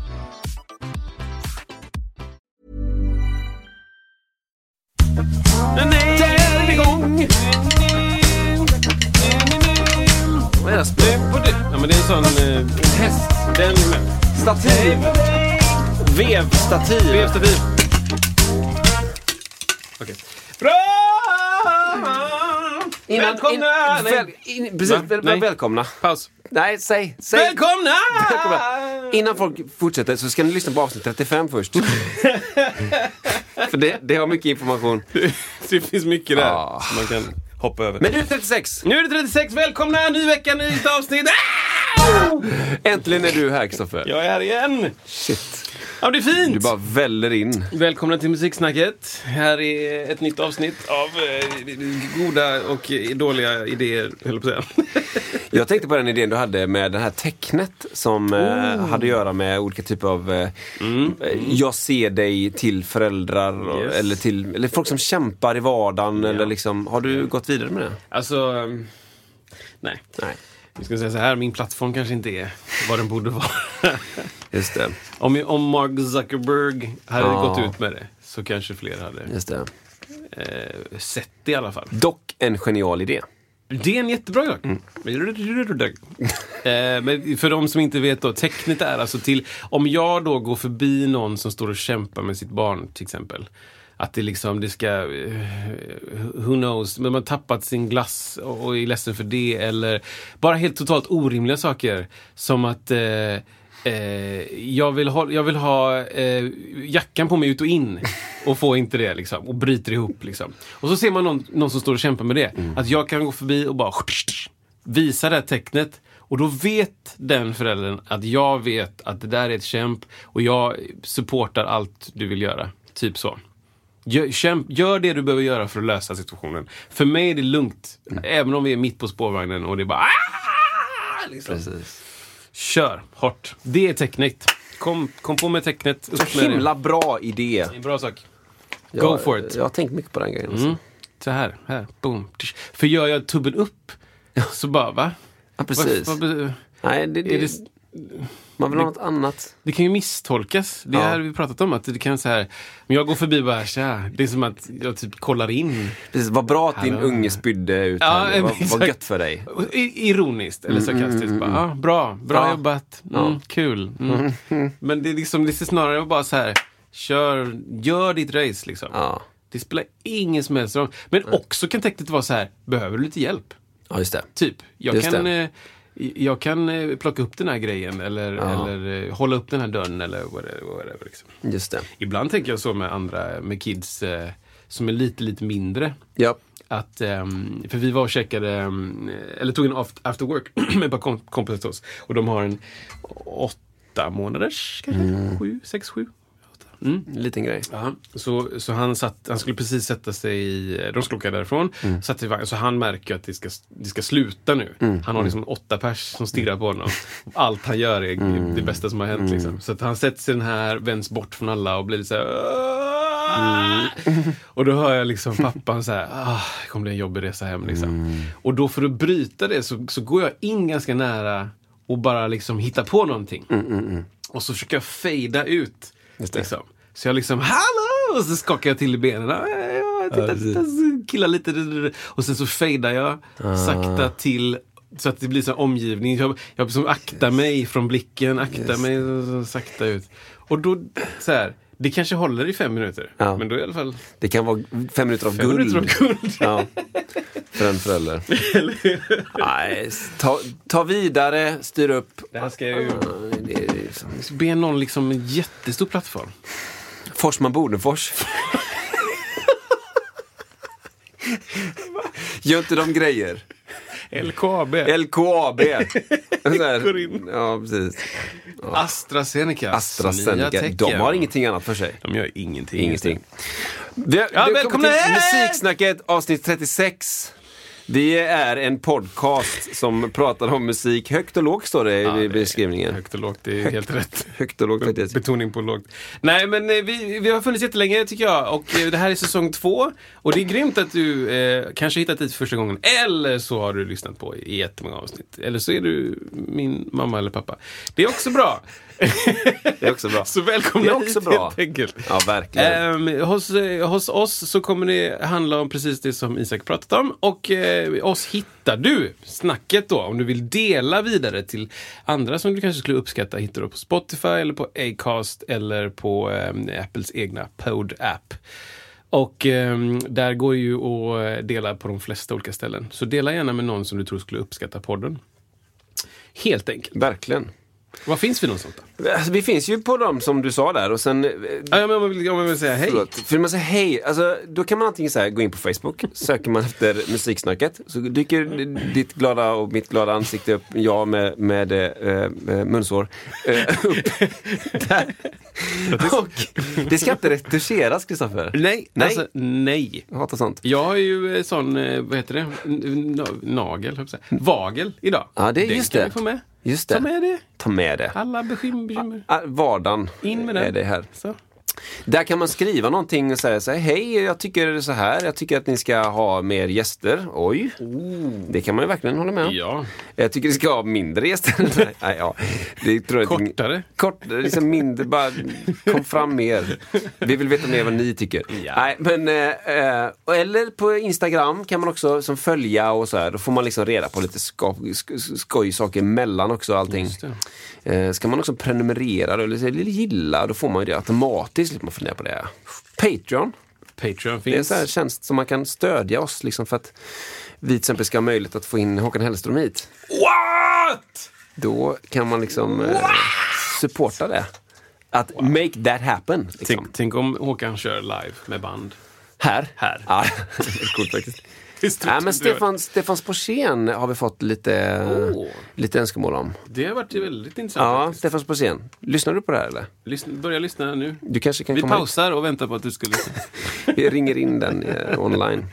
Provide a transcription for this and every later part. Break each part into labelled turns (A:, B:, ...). A: Där är vi igång! Vad är det? Spö på det? Ja men det är en sån eh, häst. Den med. Stativ. Vevstativ. Vevstativ. Okej. Bra! Välkomna!
B: in-
A: Nej.
B: väl- in- precis,
A: Va?
B: väl,
A: Nej.
B: välkomna.
A: Paus.
B: Nej, säg. säg.
A: Välkomna!
B: Välkomna! Innan folk fortsätter så ska ni lyssna på avsnitt 35 först. För det, det har mycket information.
A: Det finns mycket där
B: Ah.
A: som man kan hoppa över.
B: Men nu 36!
A: nu är det 36, välkomna! Ny vecka, nytt avsnitt! Ah!
B: Äntligen är du här Kristoffer.
A: Jag är här igen!
B: Shit.
A: Ja, det är fint!
B: Du bara väller in.
A: Välkomna till Musiksnacket. Här är ett nytt avsnitt av eh, goda och eh, dåliga idéer, höll jag på att säga.
B: Jag tänkte på den idén du hade med det här tecknet som
A: Oh.
B: eh, hade att göra med olika typer av eh, eh, Jag ser dig till föräldrar och,
A: Mm. Yes.
B: eller till eller folk som kämpar i vardagen. Eller liksom, har du gått vidare med det?
A: Alltså, ehm, nej.
B: Nej.
A: Vi ska säga så här, min plattform kanske inte är vad den borde vara.
B: Just det.
A: om, om Mark Zuckerberg hade
B: Ja.
A: gått ut med det så kanske fler hade
B: Just det.
A: eh, sett det i alla fall.
B: Dock en genial idé.
A: Det är en jättebra sak. Eh, Men för de som inte vet då, tecknet är alltså till, om jag då går förbi någon som står och kämpar med sitt barn till exempel. Att det liksom, det ska, eh, who knows, men man har tappat sin glass och och är ledsen för det. Eller bara helt totalt orimliga saker. Som att eh, eh, jag vill ha, jag vill ha eh, jackan på mig ut och in och får inte det liksom. Och bryter ihop liksom. Och så ser man någon, någon som står och kämpar med det. Att jag kan gå förbi och bara visa det här tecknet. Och då vet den föräldern att jag vet att det där är ett kämp och jag supportar allt du vill göra. Typ så. Gör, kämp, gör det du behöver göra för att lösa situationen. För mig är det lugnt. Även om vi är mitt på spårvagnen och det är bara "Ah!" liksom.
B: Precis.
A: Kör hårt. Det är tecknet. Kom, kom på med tecknet. Upp med det.
B: Himla bra idé.
A: Det är en bra sak.
B: Jag,
A: Go for it.
B: Jag har tänkt mycket på den grejen. Alltså.
A: Mm. Så här, här, boom. tsch. För gör jag tummen upp så bara, va?
B: Ja, precis.
A: Vad- vad-
B: Nej, det, det,
A: är det,
B: man vill ha något annat.
A: Det kan ju misstolkas. Det
B: Ja.
A: här har vi pratat om. Att det kan så här, men jag går förbi bara tja. Det är som att jag typ kollar in.
B: Precis, vad bra att din
A: Hallå.
B: unge spydde ut
A: Ja,
B: här nu. Vad,
A: exakt.
B: vad gött för dig.
A: I- Ironiskt
B: Mm,
A: eller sarkastiskt. bara, ah, bra, bra
B: Ja.
A: jobbat. Mm,
B: Ja.
A: Kul. Mm. Men det är liksom lite snarare bara så här. Kör, gör ditt race liksom.
B: Ja.
A: Det spelar ingen som helst roll. Men också kan tecknet vara så här. Behöver du lite hjälp?
B: ja, just det.
A: Typ, jag
B: Just
A: kan,
B: det.
A: eh, jag kan eh, plocka upp den här grejen eller,
B: Ja.
A: eller eh, hålla upp den här dörren eller whatever. whatever liksom.
B: Just det.
A: Ibland tänker jag så med andra, med kids eh, som är lite, lite mindre.
B: Ja.
A: Att, ehm, för vi var och käkade, ehm, eller tog en aft- after work med ett par kom- kompisar till oss. Och de har en åtta månaders kanske? Sju, sex, sju? Åtta. Mm.
B: En liten grej.
A: Ja, så, så han, satt, han skulle precis sätta sig i, de skulle åka därifrån,
B: Mm.
A: satt i vagn, så han märker ju att det ska, det ska sluta nu. Han
B: Mm.
A: har liksom åtta pers som stirrar på honom. Allt han gör är
B: Mm.
A: det bästa som har hänt. Liksom. Så att han sätter sig i den här, vänds bort från alla och blir lite så
B: Mm.
A: här. "Åh!" Och då hör jag liksom pappan så här, ah, det kommer bli en jobbig resa hem. Liksom.
B: Mm.
A: Och då för att bryta det så, så går jag in ganska nära och bara liksom hittar på någonting. Och så försöker jag fejda ut.
B: Mm, Just det.
A: Liksom. Så jag liksom, hallå! Och så skakar jag till i benen. Ah, ja, Titta, titta, så killar lite. Och sen så fejdar jag
B: Ah.
A: sakta till så att det blir så här omgivning. Jag, jag liksom aktar mig från blicken, aktar mig och så sakta ut. Och då, så här, det kanske håller i fem minuter.
B: Ja.
A: Men då i alla fall
B: Det kan vara fem minuter av
A: fem
B: guld.
A: minuter av guld.
B: Ja. För en förälder. Nej, ta, ta vidare, styr upp.
A: Det här ska jag ju...
B: Ja, det är liksom-
A: Be någon liksom en jättestor plattform.
B: Forsman Bodenfors. Gör inte de grejer.
A: LKAB.
B: LKAB. Så här.
A: Går in.
B: Ja, precis.
A: AstraZeneca.
B: AstraZeneca, de har ingenting annat för sig.
A: De gör ingenting.
B: Ingenting. Det,
A: Ja,
B: det
A: välkomna
B: kommer till
A: hit!
B: Musiksnacket avsnitt 36. Vi är en podcast som pratar om musik. Högt och lågt står det i
A: det är
B: beskrivningen.
A: Högt och lågt, det är helt rätt.
B: Högt och lågt faktiskt.
A: Betoning på lågt. Nej, men eh, vi, vi har funnits jättelänge tycker jag och eh, det här är säsong två. Och det är grymt att du eh, kanske hittat hit för första gången. Eller så har du lyssnat på i jättemånga avsnitt. Eller så är du min mamma eller pappa. Det är också bra.
B: Det är också bra.
A: Så välkomna
B: Det är också
A: hit
B: bra.
A: helt enkelt.
B: Ja, verkligen.
A: Ehm, hos, eh, hos oss så kommer det handla om precis det som Isak pratat om. Och eh, oss hittar du, snacket då, om du vill dela vidare till andra som du kanske skulle uppskatta. Hittar du på Spotify eller på Acast eller på ehm, Apples egna Pod-app. Och ehm, där går ju att eh, dela på de flesta olika ställen. Så dela gärna med någon som du tror skulle uppskatta podden. Helt enkelt.
B: Verkligen.
A: Var finns vi någonstans då?
B: Alltså, vi finns ju på dem som du sa där och sen... eh,
A: Ja, men om, man vill, om man vill säga hej.
B: Förlåt. För man säger hej, alltså, då kan man antingen så här, gå in på Facebook, söker man efter musiksnacket, så dyker ditt glada och mitt glada ansikte upp, jag med, med eh, eh, munsår, eh, upp där. Och det ska inte retuscheras, Kristoffer.
A: Nej,
B: Nej.
A: Alltså, nej.
B: Jag hatar sånt.
A: Jag har ju eh, sån, eh, vad heter det, N- n- na- nagel, höll jag på att säga. Vagel idag.
B: Ja, det är
A: Den
B: just
A: kan
B: det.
A: vi få med.
B: Just det.
A: Ta med det.
B: Ta med det.
A: Alla bekym- bekymmer.
B: Ah, Vardagen
A: In med
B: är
A: den.
B: det här.
A: Så.
B: Där kan man skriva någonting och säga så här, hej jag tycker det är så här, jag tycker att ni ska ha mer gäster. Oj, det kan man ju verkligen hålla med om.
A: Oh. Ja.
B: Jag tycker ni ska ha mindre gäster. Nej, nej, ja. det tror jag inte-
A: Kortare.
B: Kortare, liksom mindre, bara kom fram mer. Vi vill veta mer vad ni tycker.
A: Ja.
B: Nej, men, eh, eh, och eller på Instagram kan man också som följa och så här. Då får man liksom reda på lite sko sk skoj saker mellan också allting.
A: Just
B: Eh, ska man också prenumerera då, eller, eller gilla, då får man ju det automatiskt. Slipper man fundera på det. Patreon.
A: Patreon
B: Det är en
A: finns.
B: sån här tjänst som man kan stödja oss liksom för att vi till exempel ska ha möjlighet att få in Håkan Hellström hit.
A: What?
B: Då kan man liksom eh, supporta det. Att make that happen. Liksom.
A: Tänk, tänk om Håkan kör live med band.
B: Här.
A: Här.
B: Ja, det är coolt faktiskt.
A: Visst,
B: Nej, men
A: det hade varit-
B: Stefan, Stefan Sporsén har vi fått lite,
A: Åh.
B: lite önskemål om.
A: Det har varit väldigt intressant.
B: Ja, Stefan Sporsén. Lyssnar du på det här eller?
A: Lyssna, börja lyssna nu.
B: Du kanske kan
A: Vi
B: komma
A: pausar och väntar på att du skulle...
B: hit? Vi ringer in den eh, online.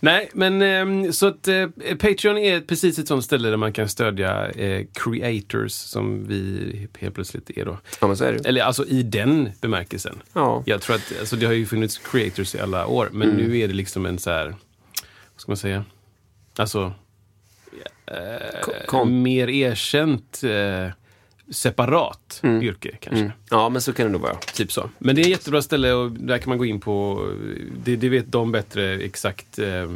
A: Nej, men ehm, så att eh, Patreon är precis ett sånt ställe där man kan stödja eh, creators som vi helt plötsligt är då.
B: Ja, men så är det ju.
A: Eller alltså i den bemärkelsen.
B: Typ. Ja. Mm.
A: Jag tror att alltså, det har ju funnits creators i alla år, men nu är det liksom en så här, vad ska man säga? Alltså,
B: Ko-
A: eh,
B: kon-
A: mer erkänt eh, separat
B: Mm.
A: yrke kanske.
B: Ja, men så kan det nog vara.
A: Typ så. Men det är ett jättebra ställe och där kan man gå in på, det, det vet de bättre exakt eh, eh,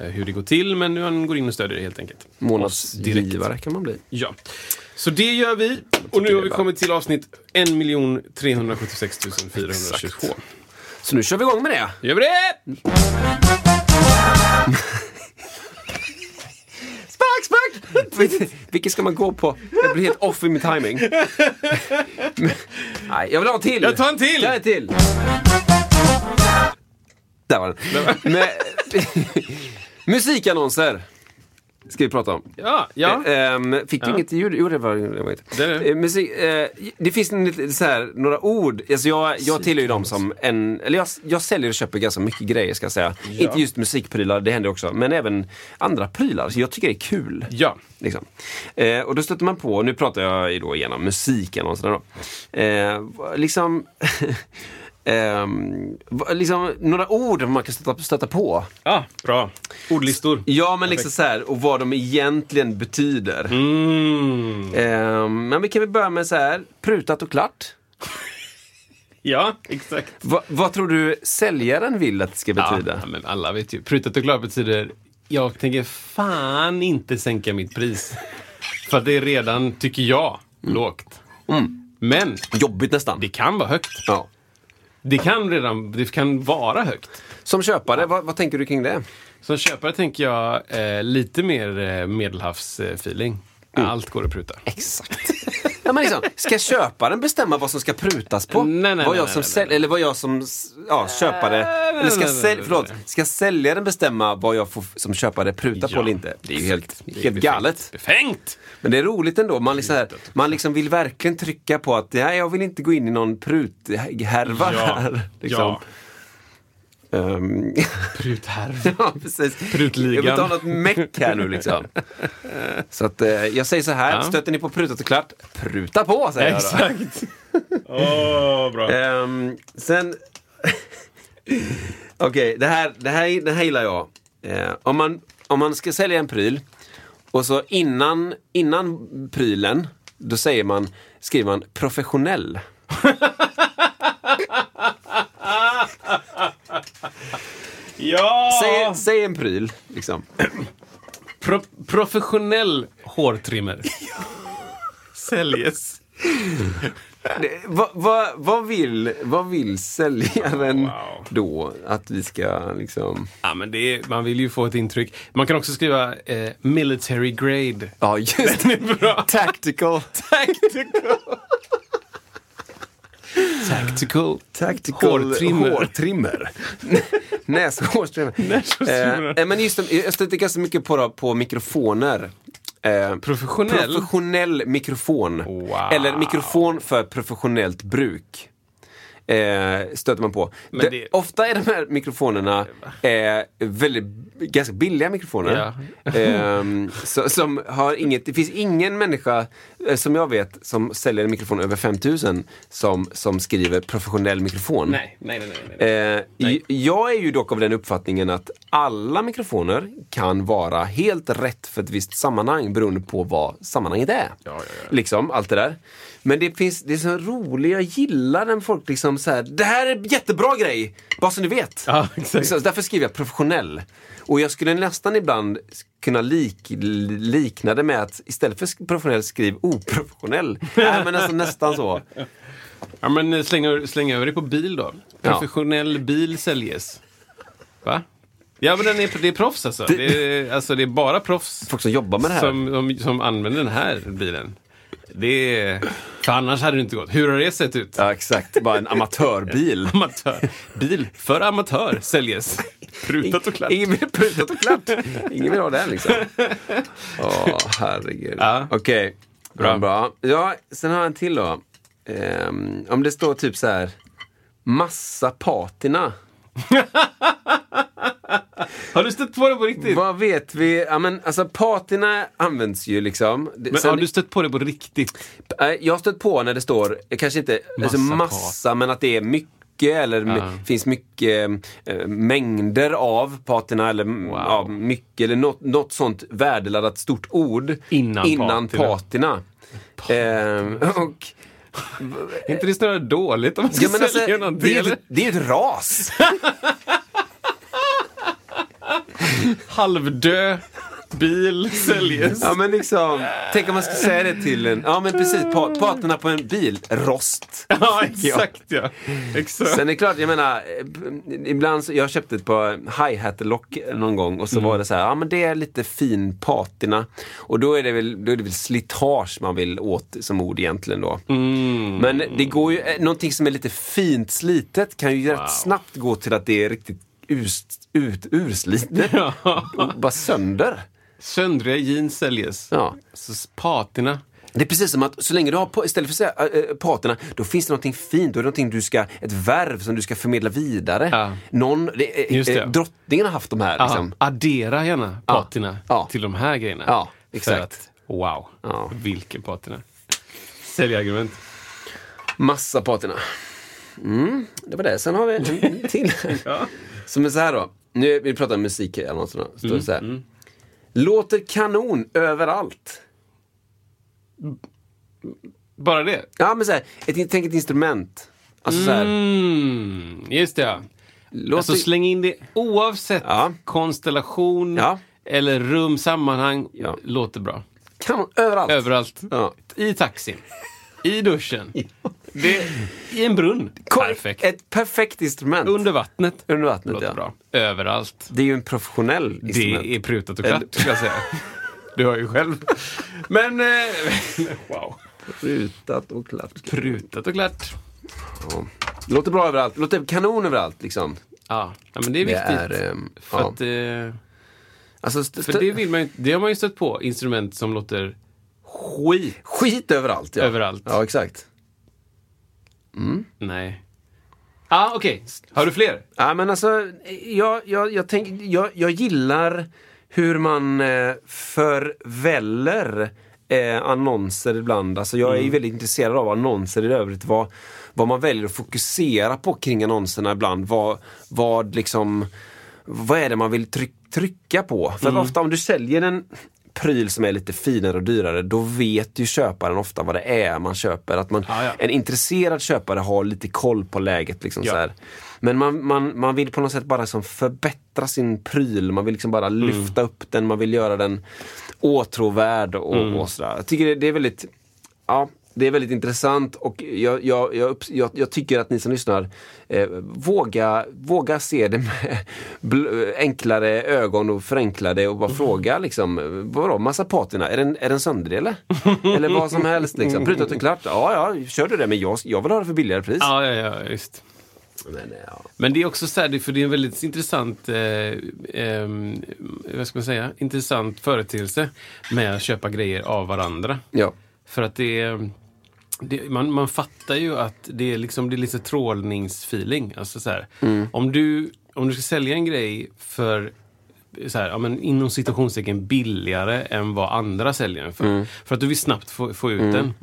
A: hur det går till, men man går in och stödjer det helt enkelt.
B: Månadsgivare kan man bli.
A: Ja. Så det gör vi. Och nu har vi kommit till avsnitt 1 376 422.
B: Exakt. Så nu kör vi igång med det.
A: gör vi det!
B: Spark, spark! Vil- Vilken ska man gå på? Jag blir helt off i min timing. Men- Nej, jag vill ha en till!
A: Jag tar en till!
B: Ta en till! Där var den. Men, musikannonser ska vi prata om.
A: Ja, ja.
B: Ehm, fick du inget ljud? Jo, det var det. Var inte.
A: Det är det.
B: Eh, musik, eh, det finns en, lite så här, några ord. Alltså jag, jag tillhör ju dem som en... Eller jag, jag säljer och köper ganska mycket grejer ska jag säga. Inte just musikprylar, det händer också. Men även andra prylar. Så jag tycker det är kul.
A: Ja.
B: Liksom. Eh, och då stöter man på, nu pratar jag ju då igenom musikannonserna då. Eh, liksom, ehm, va- liksom några ord man kan stöta, stöta på.
A: ja. Bra. Ordlistor.
B: Ja, men liksom så här, och vad de egentligen betyder.
A: Mm.
B: Ehm, men vi kan väl börja med så här, prutat och klart.
A: Ja, exakt.
B: Va, vad tror du säljaren vill att det ska
A: Ja,
B: betyda?
A: men alla vet ju. Prutat och klart betyder jag tänker fan inte sänka mitt pris. För att det är redan, tycker jag,
B: Mm.
A: lågt. Men
B: Jobbigt nästan.
A: det kan vara högt.
B: Ja.
A: Det kan redan, det kan vara högt.
B: Som köpare, vad, vad tänker du kring det?
A: Som köpare tänker jag
B: Mm.
A: eh, lite mer eh, medelhavsfeeling. Allt går att pruta.
B: Exakt. Ja, men liksom, ska köparen bestämma vad som ska prutas på?
A: Nej, nej,
B: vad jag
A: nej,
B: som
A: nej,
B: sälj- Eller vad jag som s- ja, köpare... eller ska,
A: nej, nej,
B: sälj-
A: nej,
B: förlåt,
A: nej.
B: ska säljaren bestämma vad jag får f- som köpare pruta på
A: Ja,
B: eller inte? Det är ju helt,
A: exakt. Det är
B: helt
A: befängt.
B: galet.
A: Befängt!
B: Men det är roligt ändå. Man liksom, här, man liksom vill verkligen trycka på att nej, jag vill inte gå in i någon pruthärva här. Liksom. Ehm,
A: Pruthärv.
B: ja, precis.
A: Prutligan.
B: Jag vill inte ha något meck här nu liksom. Så att, eh, jag säger så här,
A: Ja.
B: stöter ni på prutat och klart, pruta på säger jag då.
A: Exakt. Åh, bra.
B: Ehm, sen... Okej, det, här, det, här, det här gillar jag. Eh, om, man, om man ska sälja en pryl och så innan, innan prylen, då säger man, skriver man professionell.
A: Ja!
B: Säg, säg en pryl, liksom.
A: Pro professionell hårtrimmer. Säljes.
B: Det- Vad vad- vad vill, vad vill säljaren
A: Wow.
B: då? Att vi ska liksom...
A: Ja, men det är, man vill ju få ett intryck. Man kan också skriva eh, military grade.
B: Ja, just
A: Det är bra.
B: Tactical.
A: Tactical. Tactical.
B: Tactical
A: Hårtrimmer.
B: hårtrimmer. Näshårstrimmer.
A: Näshårstrimmer.
B: Eh, men just det, jag stötte ganska mycket på, på mikrofoner. Eh,
A: Professionell?
B: Professionell mikrofon.
A: Wow.
B: Eller mikrofon för professionellt bruk. Eh, stöter man på.
A: Men
B: det...
A: det-
B: Ofta är de här mikrofonerna eh, väldigt, ganska billiga mikrofoner. Ehm, så, som har inget, det finns ingen människa eh, som jag vet som säljer en mikrofon över 5000 som, som skriver professionell mikrofon.
A: Nej, nej, nej. nej, nej.
B: Eh, j- jag är ju dock av den uppfattningen att alla mikrofoner kan vara helt rätt för ett visst sammanhang beroende på vad sammanhanget är. Liksom, allt det där. Men det finns, det är så roligt, jag gillar när folk liksom så här, det här är en jättebra grej, bara så ni vet.
A: Ja, exakt.
B: Så därför skriver jag professionell. Och jag skulle nästan ibland kunna lik, likna det med att istället för sk- professionell, skriv oprofessionell. Nej, men alltså, nästan så.
A: Ja, men eh, släng, ö- släng över det på bil då.
B: Ja.
A: Professionell bil säljes. Va? Ja, men den är, det är proffs alltså. Det, är, alltså. det är bara proffs
B: Folk som jobbar med det här.
A: som, som, som använder den här bilen. Det är, för annars hade det inte gått. Hur har det sett ut?
B: Ja, exakt. Bara en amatörbil.
A: Amatör. Bil för amatör säljes. Prutat och klart.
B: Ingen vill prutat och klart. Ingen vill ha den liksom. Åh, herregud.
A: Ja.
B: Okej, bra.
A: Bra.
B: bra. Ja, sen har jag en till då. Ehm, om det står typ så här, massa patina.
A: Har du stött på det på riktigt?
B: Vad vet vi? Ja, men alltså patina används ju liksom. Det-
A: Men,
B: sen-
A: har du stött på det på riktigt?
B: Eh, Jag har stött på när det står, eh, kanske inte massa, alltså
A: Massa
B: massa men att det är mycket eller m- finns mycket eh, mängder av patina eller m-
A: Wow.
B: ja, mycket eller något, något sånt värdeladdat stort ord
A: Innan patina.
B: patina. Eh, och,
A: Är inte det snarare dåligt om man ska
B: ja, men alltså,
A: sälja någonting?
B: det, är
A: eller?
B: ett, det är ett ras!
A: Halvdö bil säljes.
B: ja, men liksom, tänk om man skulle säga det till en, ja men precis, pa, patina på en bil, rost.
A: Ja, exakt ja. Exakt.
B: Sen är det klart, jag menar, eh, ibland så, jag köpte ett par hi-hat-lock någon gång och så var det så här, ja men det är lite fin patina. Och då är det väl, då är det väl slitage man vill åt som ord egentligen då. Men det går ju, eh, någonting som är lite fint slitet kan ju rätt snabbt gå till att det är riktigt ust, ut, urslitet. Och bara sönder.
A: Söndriga jeans säljes.
B: Ja.
A: Så patina.
B: Det är precis som att så länge du har, pa- istället för att säga äh, äh, paterna, då finns det någonting fint, då är det någonting du ska, ett värv som du ska förmedla vidare.
A: Ja.
B: Någon, det, äh,
A: Just det.
B: äh, Drottningen har haft de här. Liksom.
A: Aha, addera gärna patina
B: Ja.
A: till de här grejerna.
B: Ja,
A: För
B: exakt.
A: Att, wow,
B: Ja.
A: vilken patina. Säljargument.
B: Massa paterna. Mm, det var det. Sen har vi en, en till. Som är så här då. Nu vi pratar musik eller något sånt. Står
A: Mm,
B: det så här. Låter kanon överallt.
A: Bara det?
B: Ja, men så här, ett, tänk ett instrument. Alltså så här.
A: Mm, just det ja.
B: Låter,
A: Alltså släng in det oavsett
B: Ja.
A: konstellation
B: Ja.
A: eller rum, sammanhang.
B: Ja.
A: Låter bra.
B: kanon överallt.
A: Överallt.
B: Ja.
A: I taxin. I duschen. det, I en brunn. Perfekt.
B: Ett perfekt instrument.
A: Under vattnet.
B: Under vattnet,
A: Låter
B: ja.
A: bra. Överallt.
B: Det är ju en professionell instrument.
A: Det är prutat och klart, skulle jag säga. Du har ju själv. Men... Eh, wow.
B: Prutat och klart.
A: Prutat och klart.
B: Ja. Det låter bra överallt. Det låter kanon överallt liksom.
A: Ja, ja men det är
B: Det
A: viktigt.
B: är, ehm,
A: för,
B: ja.
A: att, eh,
B: Alltså, st-
A: för det, vill man ju, det har man ju stött på, instrument som låter skit.
B: Skit överallt ja.
A: Överallt.
B: Ja, exakt.
A: Nej. Ja, ah, okej. Har du fler?
B: Ja, men alltså, jag, jag, jag, tänk, jag, jag gillar hur man eh, förväller eh, annonser ibland. Alltså jag
A: Mm.
B: är ju väldigt intresserad av annonser i övrigt. Vad, vad man väljer att fokusera på kring annonserna ibland. Vad, vad liksom vad är det man vill tryck, trycka på? För
A: Mm.
B: ofta om du säljer en pryl som är lite finare och dyrare, då vet ju köparen ofta vad det är man köper. Att man,
A: Ja, ja.
B: En intresserad köpare har lite koll på läget. Liksom,
A: Ja.
B: så här. Men man, man, man vill på något sätt bara liksom förbättra sin pryl. Man vill liksom bara lyfta upp den, man vill göra den åtråvärd och, och sådär. Jag tycker det, det är väldigt Ja, det är väldigt intressant och jag, jag, jag, upps- jag, jag tycker att ni som lyssnar eh, våga, våga se det med bl- enklare ögon och förenkla det och bara fråga liksom, eh, vadå, massa patina, är den, är den söndrig eller? eller vad som helst liksom. Prutat och klart, ja ja, kör du det men jag, jag vill ha det för billigare pris.
A: Ja, ja, ja, just.
B: Men, eh, ja.
A: Men det är också så här, det- för det är en väldigt intressant, eh, ehm, vad ska man säga, intressant företeelse med att köpa grejer av varandra.
B: ja.
A: För att det är... Det, man, man fattar ju att det är, liksom, det är lite trålningsfeeling. Alltså så här, om, du, om du ska sälja en grej för så här, ja, men inom citationstecken billigare än vad andra säljer den för. För att du vill snabbt få, få ut den.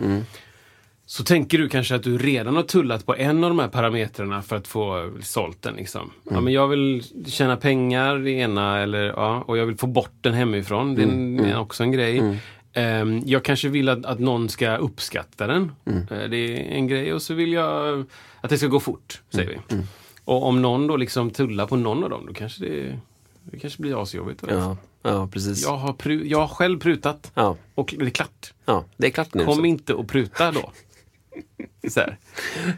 A: Så tänker du kanske att du redan har tullat på en av de här parametrarna för att få sålt den. Liksom.
B: Mm.
A: Ja, men jag vill tjäna pengar i ena eller, ja, och jag vill få bort den hemifrån. Det är
B: Mm,
A: en, är också en grej. Ehm, jag kanske vill att, att någon ska uppskatta den.
B: Mm.
A: Eh, det är en grej. Och så vill jag att det ska gå fort, säger
B: Mm,
A: vi. Och om någon då liksom tullar på någon av dem, då kanske det, det kanske blir asjobbigt. då.
B: Ja. ja, precis.
A: Jag, har pru, jag har själv prutat.
B: Ja.
A: Och det är klart.
B: Ja, det är klart nu.
A: Kom
B: så.
A: inte och pruta då. Så här.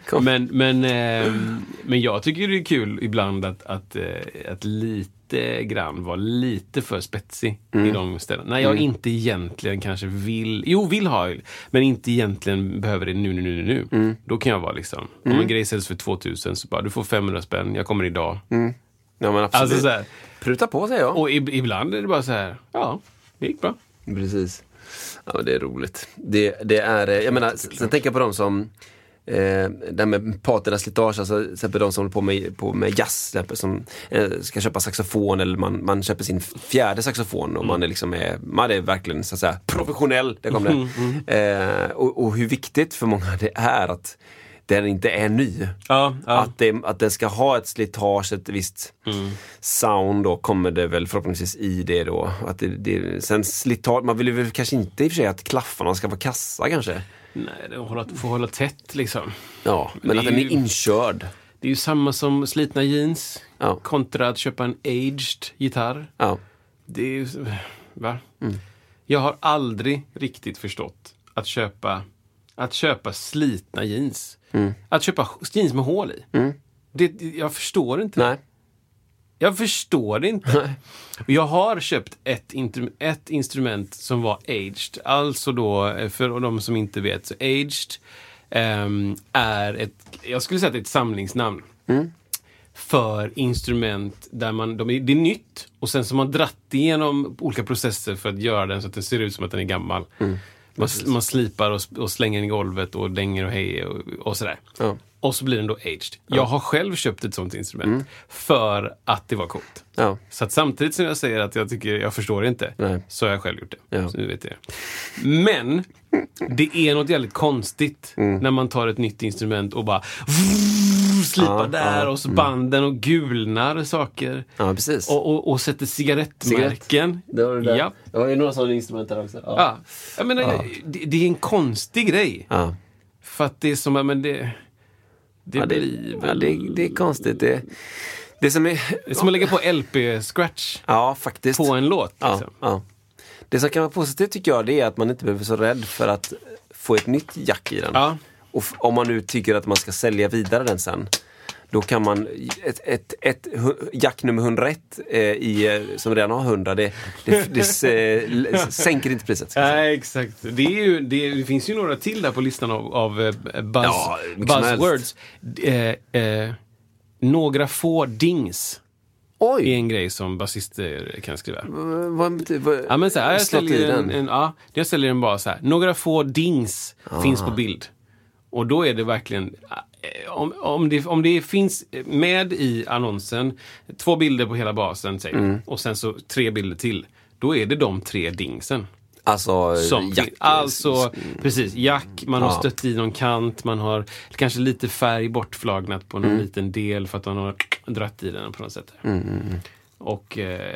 B: Kom.
A: Men, men, ehm, men jag tycker det är kul ibland att, att, eh, att lite grann vara lite för spetsig
B: Mm.
A: i de ställena. När jag inte egentligen kanske vill, jo vill ha, men inte egentligen behöver det nu, nu, nu, nu.
B: Mm.
A: nu. Då kan jag vara liksom, om en grej säljs för 2000 så bara, du får 500 spänn, jag kommer idag.
B: Mm. Ja, men absolut.
A: Alltså så här.
B: Pruta på säger jag.
A: Och ib- ibland är det bara så här, ja, det gick bra.
B: Precis. Ja, men det är roligt. Det, det är, eh, jag menar, sen tänker jag på de som Eh, det här med patinaslitage, alltså till exempel de som håller på med, på med jazz, till exempel, som eh, ska köpa saxofon eller man, man köper sin fjärde saxofon
A: Mm.
B: och man är liksom eh, man är verkligen så att säga professionell. Där kom det.
A: Mm,
B: Eh, och, och hur viktigt för många det är att den inte är ny.
A: Ja, Mm.
B: Att, det, att den ska ha ett slitage, ett visst sound då kommer det väl förhoppningsvis i det då. Att det, det, sen slitage, man vill ju väl kanske inte i och för sig att klaffarna ska vara kassa kanske.
A: Nej, det hålla, får hålla tätt liksom.
B: Ja, men
A: det
B: att
A: är
B: den är
A: ju-
B: inkörd.
A: Det är ju samma som slitna jeans
B: Ja.
A: kontra att köpa en aged gitarr.
B: Ja.
A: Det är ju... Va?
B: Mm.
A: Jag har aldrig riktigt förstått att köpa, att köpa slitna jeans.
B: Mm.
A: Att köpa jeans med hål i. Det, jag förstår inte.
B: Nej.
A: Jag förstår det inte. Och Jag har köpt ett, intru- ett instrument som var aged. Alltså då, eh, för de som inte vet, så aged ehm, är ett, jag skulle säga att det är ett samlingsnamn. För instrument där man, de är, det är nytt och sen så har man dratt igenom olika processer för att göra den så att den ser ut som att den är gammal.
B: Mm.
A: Man, s- man slipar och, s- och slänger den i golvet och dänger och hejer och, och sådär.
B: Ja.
A: Och så blir den då aged. Jag har själv köpt ett sånt instrument för att det var coolt.
B: Mm. Ja.
A: Så att samtidigt som jag säger att jag tycker jag förstår det inte,
B: Nej.
A: så har jag själv gjort det.
B: Ja.
A: Så nu vet jag. det. Men det är något jävligt konstigt
B: Mm.
A: när man tar ett nytt instrument och bara vrrr, slipar
B: Ja,
A: där
B: ja, Mm.
A: och så banden och gulnar saker.
B: ja, precis.
A: Och, och, och sätter cigarettmärken.
B: Det var det där.
A: Ja.
B: Det var ju några sådana instrument där också. Ja.
A: Ja. Jag menar, Det, det är en konstig grej.
B: Ja.
A: För att det är som, ja, men det... Det
B: Ja, det,
A: blir
B: ja,
A: väl...
B: det, det är konstigt. Det, det som är...
A: Det är som att lägga på LP-scratch
B: Ja, faktiskt.
A: på en låt.
B: Ja,
A: Liksom.
B: ja. Det som kan vara positivt tycker jag det är att man inte behöver vara så rädd för att få ett nytt jack i den.
A: Ja.
B: Och f- om man nu tycker att man ska sälja vidare den sen. Då kan man, ett, ett, ett hu- jack nummer 101 eh, i, eh, som redan har 100, det, det, det s- eh, l- s- sänker inte priset.
A: Nej, exakt. Det, är ju, det, det finns ju några till där på listan av, av eh, buzz,
B: Ja, mycket som
A: buzzwords. Eh, eh, några få dings är
B: Oj!
A: en grej som basister kan skriva.
B: Vad, vad, vad,
A: Ja, men så här, jag,
B: slått i
A: ställer en,
B: den.
A: en, ja, jag ställer den bara så här. Några få dings
B: Ah.
A: finns på bild. Och då är det verkligen, eh, om, om, det, om det finns med i annonsen, två bilder på hela basen säger vi,
B: Mm.
A: och sen så tre bilder till. Då är det de tre dingsen.
B: Alltså,
A: Som
B: jack, Mm.
A: fin- alltså, precis. Jack, man har
B: Ja.
A: stött i någon kant, man har kanske lite färg bortflagnat på någon
B: Mm.
A: liten del för att man har dratt i den på något sätt.
B: mm.
A: Och eh,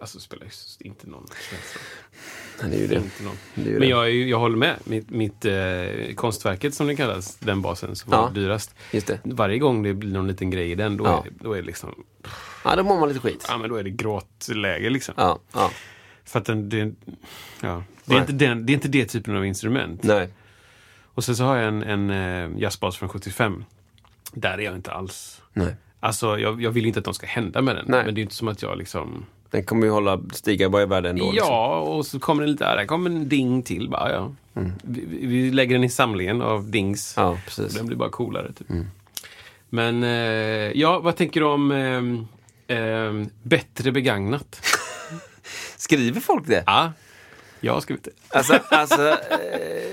A: alltså spelar ju inte någon känsla.
B: Det är ju det.
A: Inte någon.
B: det, är ju
A: Men
B: Mm. det.
A: jag, är ju- jag håller med. Mitt, mitt eh, konstverket som det kallas, den basen som
B: Ja.
A: var dyrast.
B: Just det.
A: Varje gång det blir någon liten grej i den, då,
B: Ja.
A: är, då, är, det liksom,
B: Ja, då mår man lite skit.
A: ja, men då är det gråtläge. Liksom.
B: Ja, ja.
A: För att den, det, ja. det, är
B: Nej.
A: inte den, det är inte det typen av instrument.
B: Nej.
A: Och sen så har jag en, en eh, jazzbas från 75. Där är jag inte alls.
B: Nej.
A: Alltså, jag, jag vill ju inte att något ska hända med den.
B: Nej.
A: Men det är ju inte som att jag liksom...
B: Den kommer ju hålla, stiga vad är världen då? liksom.
A: Ja, och så kommer den lite... Där kommer en ding till bara. Ja. Vi, vi- vi lägger den i samlingen av dings.
B: Mm. Ja,
A: Och
B: precis. Mm.
A: Den blir bara coolare. Typ. Men eh, ja, vad tänker du om eh, eh, bättre begagnat?
B: Skriver folk det?
A: Ja, jag har skrivit det.
B: Alltså, alltså, eh,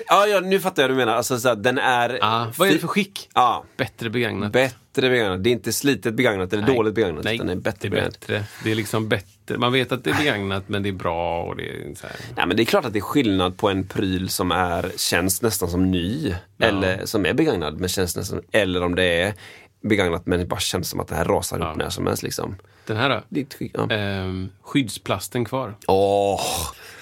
B: ja, ja, nu fattar jag vad du menar. Alltså, så här, den är...
A: Ja, vad är det för skick?
B: Ja,
A: Bättre begagnat.
B: bättre begagnat. Det är inte slitet begagnat eller
A: Nej.
B: dåligt begagnat.
A: Nej,
B: utan det är bättre
A: det är
B: begagnat.
A: bättre. Det är liksom bättre. Man vet att det är begagnat, men det är bra och det är så här.
B: Nej, men det är klart att det är skillnad på en pryl som är, känns nästan som ny, eller som är begagnad men känns nästan, eller om det är begagnat men det bara känns som att det här rasar upp när som helst. Liksom.
A: Den här då?
B: Det är ett skick- ja.
A: Ehm, skyddsplasten kvar.
B: Åh!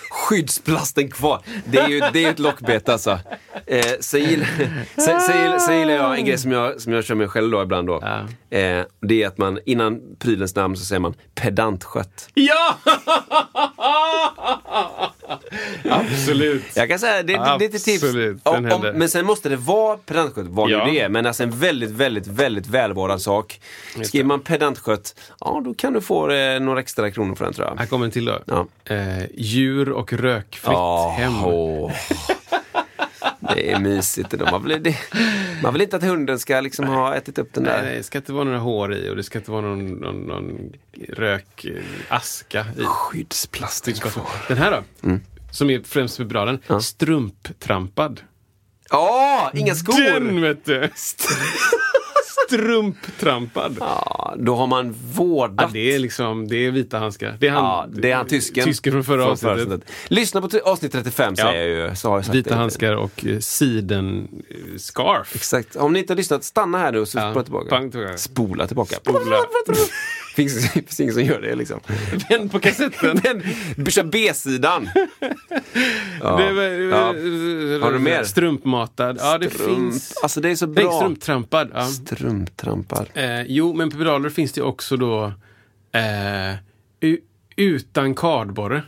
B: Skyddsplasten kvar. Det är ju det är ju ett lockbete alltså. Eh, sen, gillar, sen, sen, gillar, sen gillar jag en grej som jag, som jag kör med själv då ibland då. Eh, det är att man innan prylens namn så säger man pedantskött.
A: Ja! Absolut.
B: Jag kan säga, det, det, det är ett tips.
A: Absolut,
B: Ja,
A: den händer.
B: men sen måste det vara pedantskött, vad
A: Ja.
B: nu det är. Men alltså en väldigt, väldigt, väldigt välvårdad sak. Skriver man pedantskött, ja då kan du få eh, några extra kronor för den tror jag.
A: Här kommer en till då.
B: Ja.
A: Eh, djur och rökfritt hem.
B: åh. Det är mysigt. ändå. Man vill, det, man vill inte att hunden ska liksom ha ätit upp den
A: Nej,
B: där.
A: nej, det ska inte vara några hår i och det ska inte vara någon, någon, någon rökaska i.
B: Skyddsplasten kvar.
A: Den här då?
B: Mm.
A: Som är främst med bladen. Strumptrampad.
B: Ja, inga skor!
A: Den vet du! Strumptrampad.
B: Ja, då har man
A: Ja,
B: vårdat.
A: det är liksom, det är vita handskar. Det är han,
B: Ja, det är han tysken.
A: Tysken från förra
B: Från
A: avsnittet.
B: Lyssna på ty- avsnitt 35
A: Ja.
B: säger jag ju. Så har jag sagt
A: Vita
B: det.
A: handskar och eh, siden eh, scarf.
B: Exakt. Om ni inte har lyssnat, stanna här nu och så
A: Ja,
B: spola tillbaka.
A: pang tillbaka.
B: Spola tillbaka.
A: Spola.
B: finns, finns ingen som gör det liksom.
A: Vänd på kassetten.
B: Men, kör B-sidan. Ja.
A: Det är väl-
B: Ja. Har du mer?
A: Strumpmatad. Ja, det
B: Strump.
A: finns.
B: Alltså det är så
A: Nej,
B: bra.
A: strumptrampad. Ja.
B: Strumptrampar.
A: Eh, jo, men på pedaler finns det också då eh, u- utan kardborre.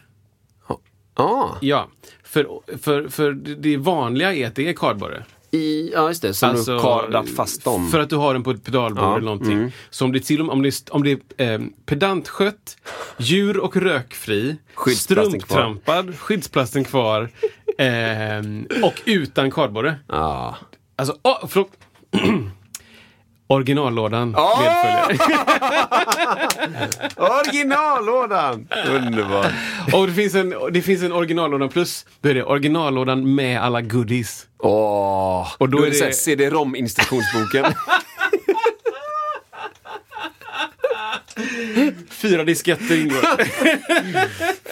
B: Ah.
A: Ja, för, för, för det vanliga är att det är kardborre.
B: I, ja, just det. Som du kardat fast dem.
A: Alltså,
B: Mm.
A: För att du har den på ett pedalbord eller någonting. Så om det, är till, och med- om det, är- om det är eh, pedantskött, djur och rökfri,
B: Skyddsplasten kvar.
A: strumptrampad, skyddsplasten kvar, Ehm, och utan kardborre.
B: Ah.
A: Alltså, åh, förlåt. Originallådan
B: Ah!
A: medföljer.
B: Originallådan! Underbart.
A: Och det finns, en, det finns en originallådan plus, då är det originallådan med alla goodies.
B: Åh! Och då,
A: Då
B: är
A: är
B: det,
A: det-
B: CD-ROM instruktionsboken.
A: Fyra disketter ingår.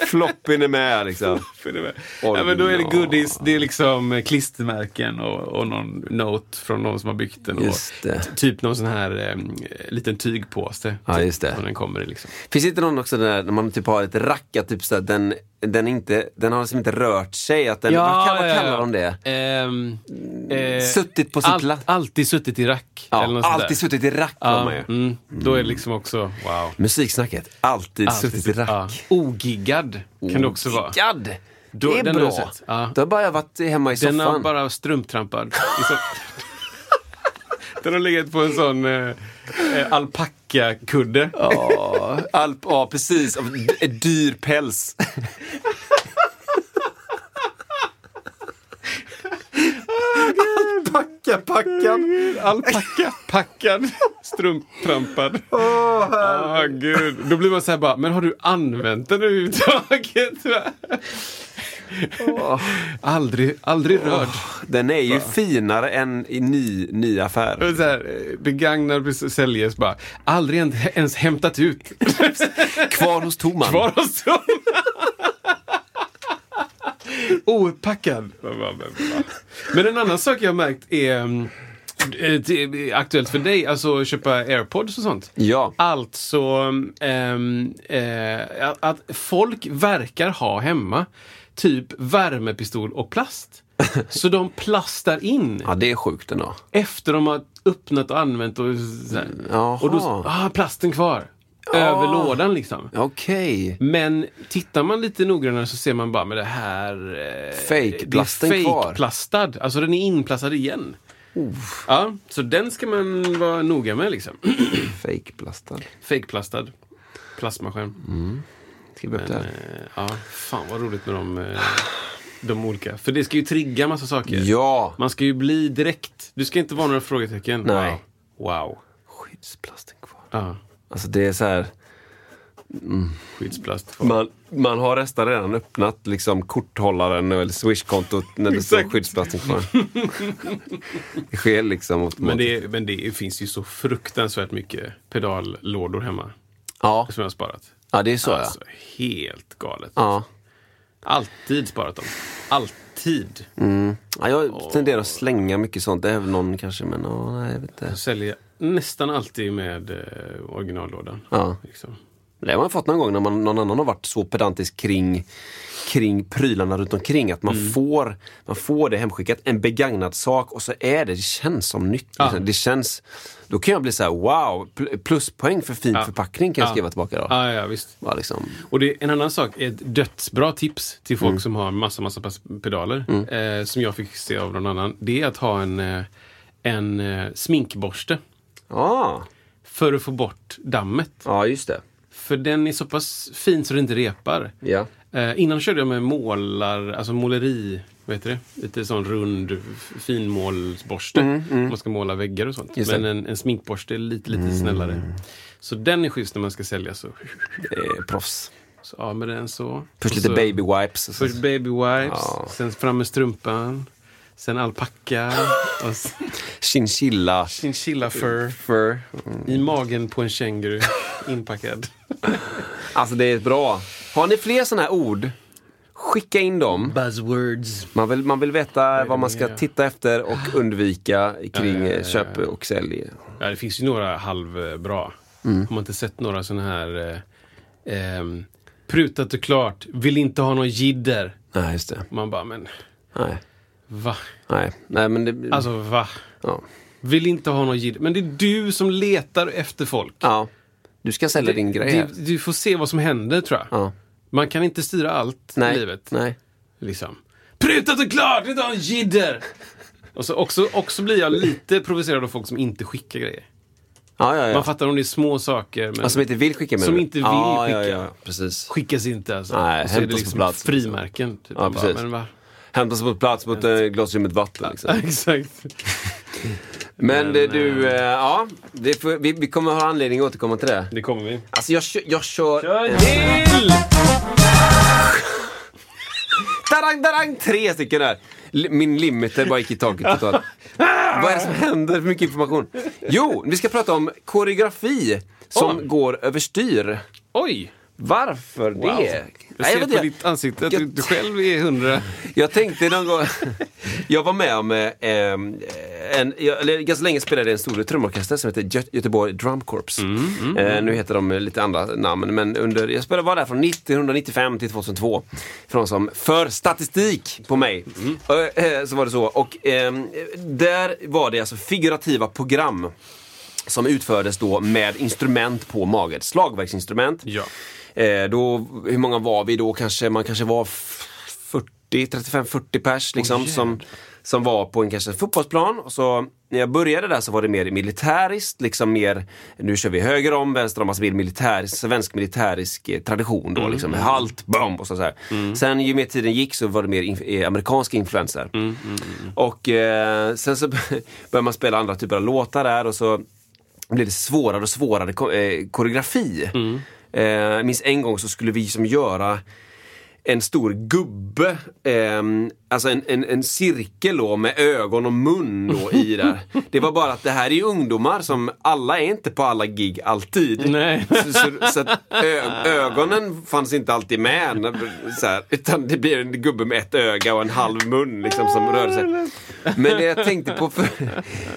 B: Floppin är med liksom.
A: För det var- ja, men då är det goodies, det är liksom klistermärken och, och någon note från någon som har byggt den. Och
B: Just det.
A: t- typ någon sån här em, liten tygpåse.
B: Ja,
A: typ,
B: just det.
A: som den kommer i liksom.
B: Finns det inte någon också där när man typ har ett rack att typ så att den, den, är inte, den har liksom inte rört sig? Att den, vad, kall- vad kallar de det?
A: Ehm, eh,
B: Suttit på sin plats.
A: Alltid suttit i rack.
B: Ja,
A: eller något sånt där.
B: alltid suttit i rack
A: Ja,
B: var man ju.
A: mm, Då är det liksom också, wow.
B: Musiksnacket, alltid, suttit i rack.
A: Ja. Ogiggad kan det också vara.
B: Giggad!
A: Då-
B: det är
A: den har
B: bra.
A: jag sett. Ja.
B: Då har bara jag varit hemma i
A: Den har
B: soffan.
A: bara strumptrampad. I så- Den har legat på en sån eh, eh, alpackakudde.
B: Ja, alp, ja, precis. Av d- Dyr päls. Alpacka, packan.
A: Alpacka, packad, strumptrampad. Åh, gud. Då blir man så här bara, men har du använt den överhuvudtaget? va? Aldrig, aldrig rörd.
B: Den är ju finare än i ny, ny affär.
A: Och Så här, eh, begagnad precis- säljes bara, aldrig en- ens hämtat ut.
B: Kvar hos Toman.
A: Kvar hos dem. Outpackad. Man bara, men va? Men en annan sak jag har märkt är mm, eh, det är aktuellt för dig, alltså att köpa airpods och sånt.
B: Ja.
A: Alltså ehm, eh, att- att folk verkar ha hemma typ värmepistol och plast. Så de plastar in
B: Ja, det är sjukt ändå.
A: efter de har öppnat och använt och så här.
B: Jaha.
A: Och då, ah, plasten kvar. Över lådan liksom.
B: Okej.
A: Men tittar man lite noggrannare så ser man bara med det här... Eh,
B: Fake-plasten
A: det är
B: kvar.
A: fake-plastad. Alltså den är inplastad igen. Ja, så den ska man vara noga med liksom.
B: Fake-plastad.
A: Fake-plastad. Plasmaskärm.
B: Mm. Skriv upp det här.
A: Eh, ja, fan vad roligt med de, eh, de olika. För det ska ju trigga massa saker.
B: Ja.
A: Man ska ju bli direkt. Du ska inte vara några frågetecken.
B: Nej.
A: Wow.
B: Skyddsplasten kvar.
A: Ja,
B: Alltså det är så här.
A: skyddsplast kvar.
B: Man, man har nästan redan öppnat liksom korthållaren eller swishkontot när det står
A: Exakt.
B: skyddsplasten kvar. det sker liksom automatiskt.
A: Men det, men det finns ju så fruktansvärt mycket pedallådor hemma.
B: ja.
A: Som jag har sparat.
B: ja, det är så
A: Alltså, helt galet.
B: ja.
A: Alltid sparat dem. Alltid.
B: Mm. ja. ja. Jag tenderar att slänga mycket sånt. Det är väl någon kanske, men ja, nej, jag vet inte.
A: Jag säljer nästan alltid med eh, originallådan.
B: Ja.
A: Liksom.
B: Det har man fått någon gång när man, någon annan har varit så pedantisk kring, kring prylarna runt omkring att
A: Mm.
B: man, får, man får det hemskickat, en begagnad sak och så är det, det känns som nytt. liksom. Det känns, då kan jag bli så här: wow, pl- pluspoäng för fin förpackning kan jag skriva tillbaka då.
A: Ja, ja, visst.
B: Ja, liksom.
A: Och det, en annan sak, ett dödsbra tips till
B: Mm.
A: folk som har massa, massa pas- pedaler, eh, som jag fick se av någon annan, det är att ha en, eh, en eh, sminkborste
B: ah,
A: för att få bort dammet.
B: ja, just det.
A: För den är så pass fin så det inte repar.
B: Ja.
A: Eh, innan körde jag med målar, alltså måleri, vad heter det? Lite sån rund f- finmålsborste. Man ska måla väggar och sånt.
B: Mm, Just det. Mm.
A: Men en, en sminkborste är lite, lite snällare. Så den är schysst när man ska sälja. Så,
B: Det är proffs.
A: så av med den så.
B: Först
A: Och
B: lite
A: så-
B: baby wipes. Och så.
A: Först baby wipes,
B: Ja.
A: sen fram med strumpan. Sen alpacka och sen
B: Chinchilla. Mm.
A: chinchilla fur
B: Fur.
A: i magen på en känguru inpackad.
B: Alltså det är bra. Har ni fler sådana här ord? Skicka in dem.
A: Buzzwords.
B: Man vill, man vill veta vad man ska
A: ja.
B: titta efter och
A: Ah.
B: undvika kring eh, köp och sälj.
A: Ja, det finns ju några halvbra.
B: Mm.
A: Har man inte sett några sådana här eh, ehm, prutat och klart, vill inte ha någon jidder.
B: Nej, just det.
A: Man bara, men
B: Nej,
A: va?
B: nej, nej men det...
A: Alltså va?
B: ja.
A: Vill inte ha någon jidder. Men det är du som letar efter folk.
B: ja. Du ska sälja din grej här.
A: Du, du får se vad som händer tror jag.
B: Ja.
A: Man kan inte styra allt
B: Nej,
A: i livet.
B: nej.
A: Liksom. Prutat och klart, inte ha en jidder! Och så också, också blir jag lite provocerad av folk som inte skickar grejer.
B: Ja, ja, Alltså, ja.
A: Man fattar om det är små saker. Men
B: Ja, som inte vill skicka med
A: Som
B: det.
A: inte vill
B: ja,
A: skicka.
B: Ja, ja, precis.
A: Skickas inte alltså.
B: Nej,
A: Och så är det
B: hämtas på plats. liksom.
A: Frimärken. Typ.
B: Ja,
A: Man bara,
B: precis.
A: men va?
B: Hämtas på plats mot ett glasrummet vatten. Liksom.
A: Exakt.
B: Men det,
A: Men,
B: du, eh, ja. Det får, vi, vi kommer ha anledning att återkomma till det.
A: Det kommer vi.
B: Alltså jag kör... Jag kör,
A: Kör
B: eh,
A: till!
B: Darang, darang, tre stycken där. L- Min limiter bara gick i taket totalt. Vad är det som händer? För mycket information. Jo, vi ska prata om koreografi som
A: Åh.
B: går överstyr.
A: Oj!
B: Varför det? Nej,
A: Jag ser
B: vet
A: på ditt ansikte att du, du själv är hundra.
B: Jag tänkte någon gång, jag var med om, eh, em, en, jag, eller ganska länge spelade jag i en stor trumorkester som heter Gö- Göteborg Drum Corps. eh, nu heter de eh, lite andra namn, men under, jag spelade, var där från 1995 till 2002. För någon som för statistik på mig. Eh, eh, så var det så. Och em, där var det alltså figurativa program som utfördes då med instrument på magen. Slagverksinstrument.
A: Ja.
B: Eh, då, hur många var vi då? Kanske, man kanske var f- 40, 35-40 pers liksom, som, som var på en kanske fotbollsplan. Och så, när jag började där så var det mer militäriskt, liksom mer nu kör vi höger om, vänster om, alltså mer militär, svensk militärisk eh, tradition då. Liksom, halt, bom och så, så här. Sen ju mer tiden gick så var det mer inf- eh, amerikanska influenser. Och eh, sen så började man spela andra typer av låtar där och så blev det svårare och svårare ko- eh, koreografi. Eh, jag minns en gång så skulle vi som göra en stor gubbe, ehm, alltså en, en, en cirkel då med ögon och mun då i där. Det var bara att det här är ju ungdomar som alla är inte på alla gig alltid.
A: Nej.
B: Så, så, så att ö, ögonen fanns inte alltid med. när- Så här, utan det blir en gubbe med ett öga och en halv mun liksom, som rör sig. Men det jag tänkte på, för,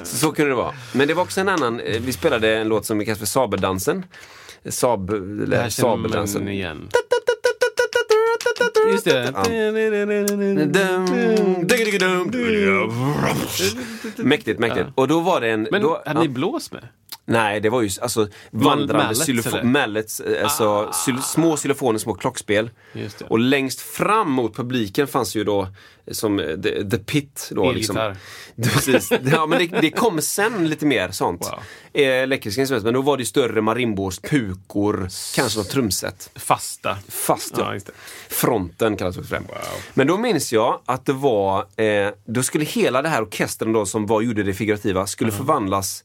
B: så, så kunde det vara. Men det var också en annan, eh, vi spelade en låt som vi kallar för Sabeldansen. Sab,
A: Det här
B: eller,
A: känner man
B: sabeldansen.
A: igen. Just det.
B: Mäktigt, mäktigt. Och då var det en...
A: Men
B: då,
A: hade ni blås med?
B: Nej, det var ju alltså vandrande
A: mallets,
B: xylofo-
A: eller? Ah.
B: mallets, eh, alltså xyl- små xylofoner, små klockspel.
A: Just det.
B: Och längst fram mot publiken fanns ju då eh, som eh, the, the pit. Då, liksom.
A: Elgitarr.
B: Precis. Ja, men det, det kom sen lite mer sånt.
A: Wow.
B: Eh, Elektriska instrument, men då var det ju större marimbors, pukor, kanske något trumset.
A: Fasta.
B: Fast ja.
A: Ja, just det.
B: Fronten kallas det också för det. Men då minns jag att det var, eh, då skulle hela den här orkestern då som var, gjorde det figurativa, skulle
A: Mm.
B: förvandlas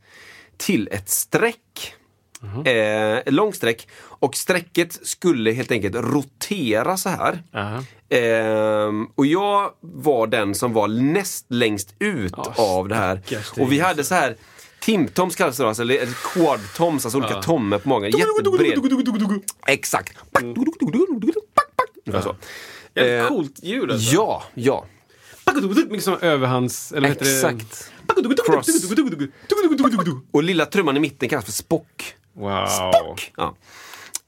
B: till ett streck.
A: Mhm.
B: Eh, ett långt streck. Och strecket skulle helt enkelt rotera så här.
A: Aha.
B: Ehm, och jag var den som var näst längst ut av det här.
A: stackars dig, alltså.
B: Och vi hade så här timtoms kallas det då, alltså, eller eller quadtoms, alltså olika tommar på magen. Jättebred. Exakt. Ungefär så.
A: Jävligt
B: Eh,
A: coolt ljud alltså.
B: Ja, ja.
A: Mycket som överhands... Eller vad heter
B: Exakt.
A: Det?
B: Cross.
A: Cross.
B: Och lilla trumman i mitten kallas för spock.
A: Wow.
B: Ja.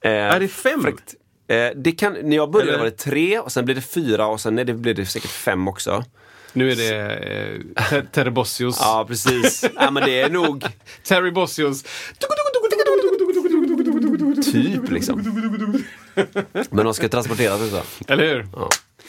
B: Eh,
A: Är det fem?
B: fräckt. Eh, det kan, när jag började
A: Eller?
B: var det tre och sen blev det fyra och sen nej, det blev det säkert fem också.
A: Nu är det eh, Ter- Terry Bossius.
B: Ja, precis. ja, men det är nog
A: Terry Bossius.
B: typ liksom. Men de ska transporteras och så.
A: Eller hur?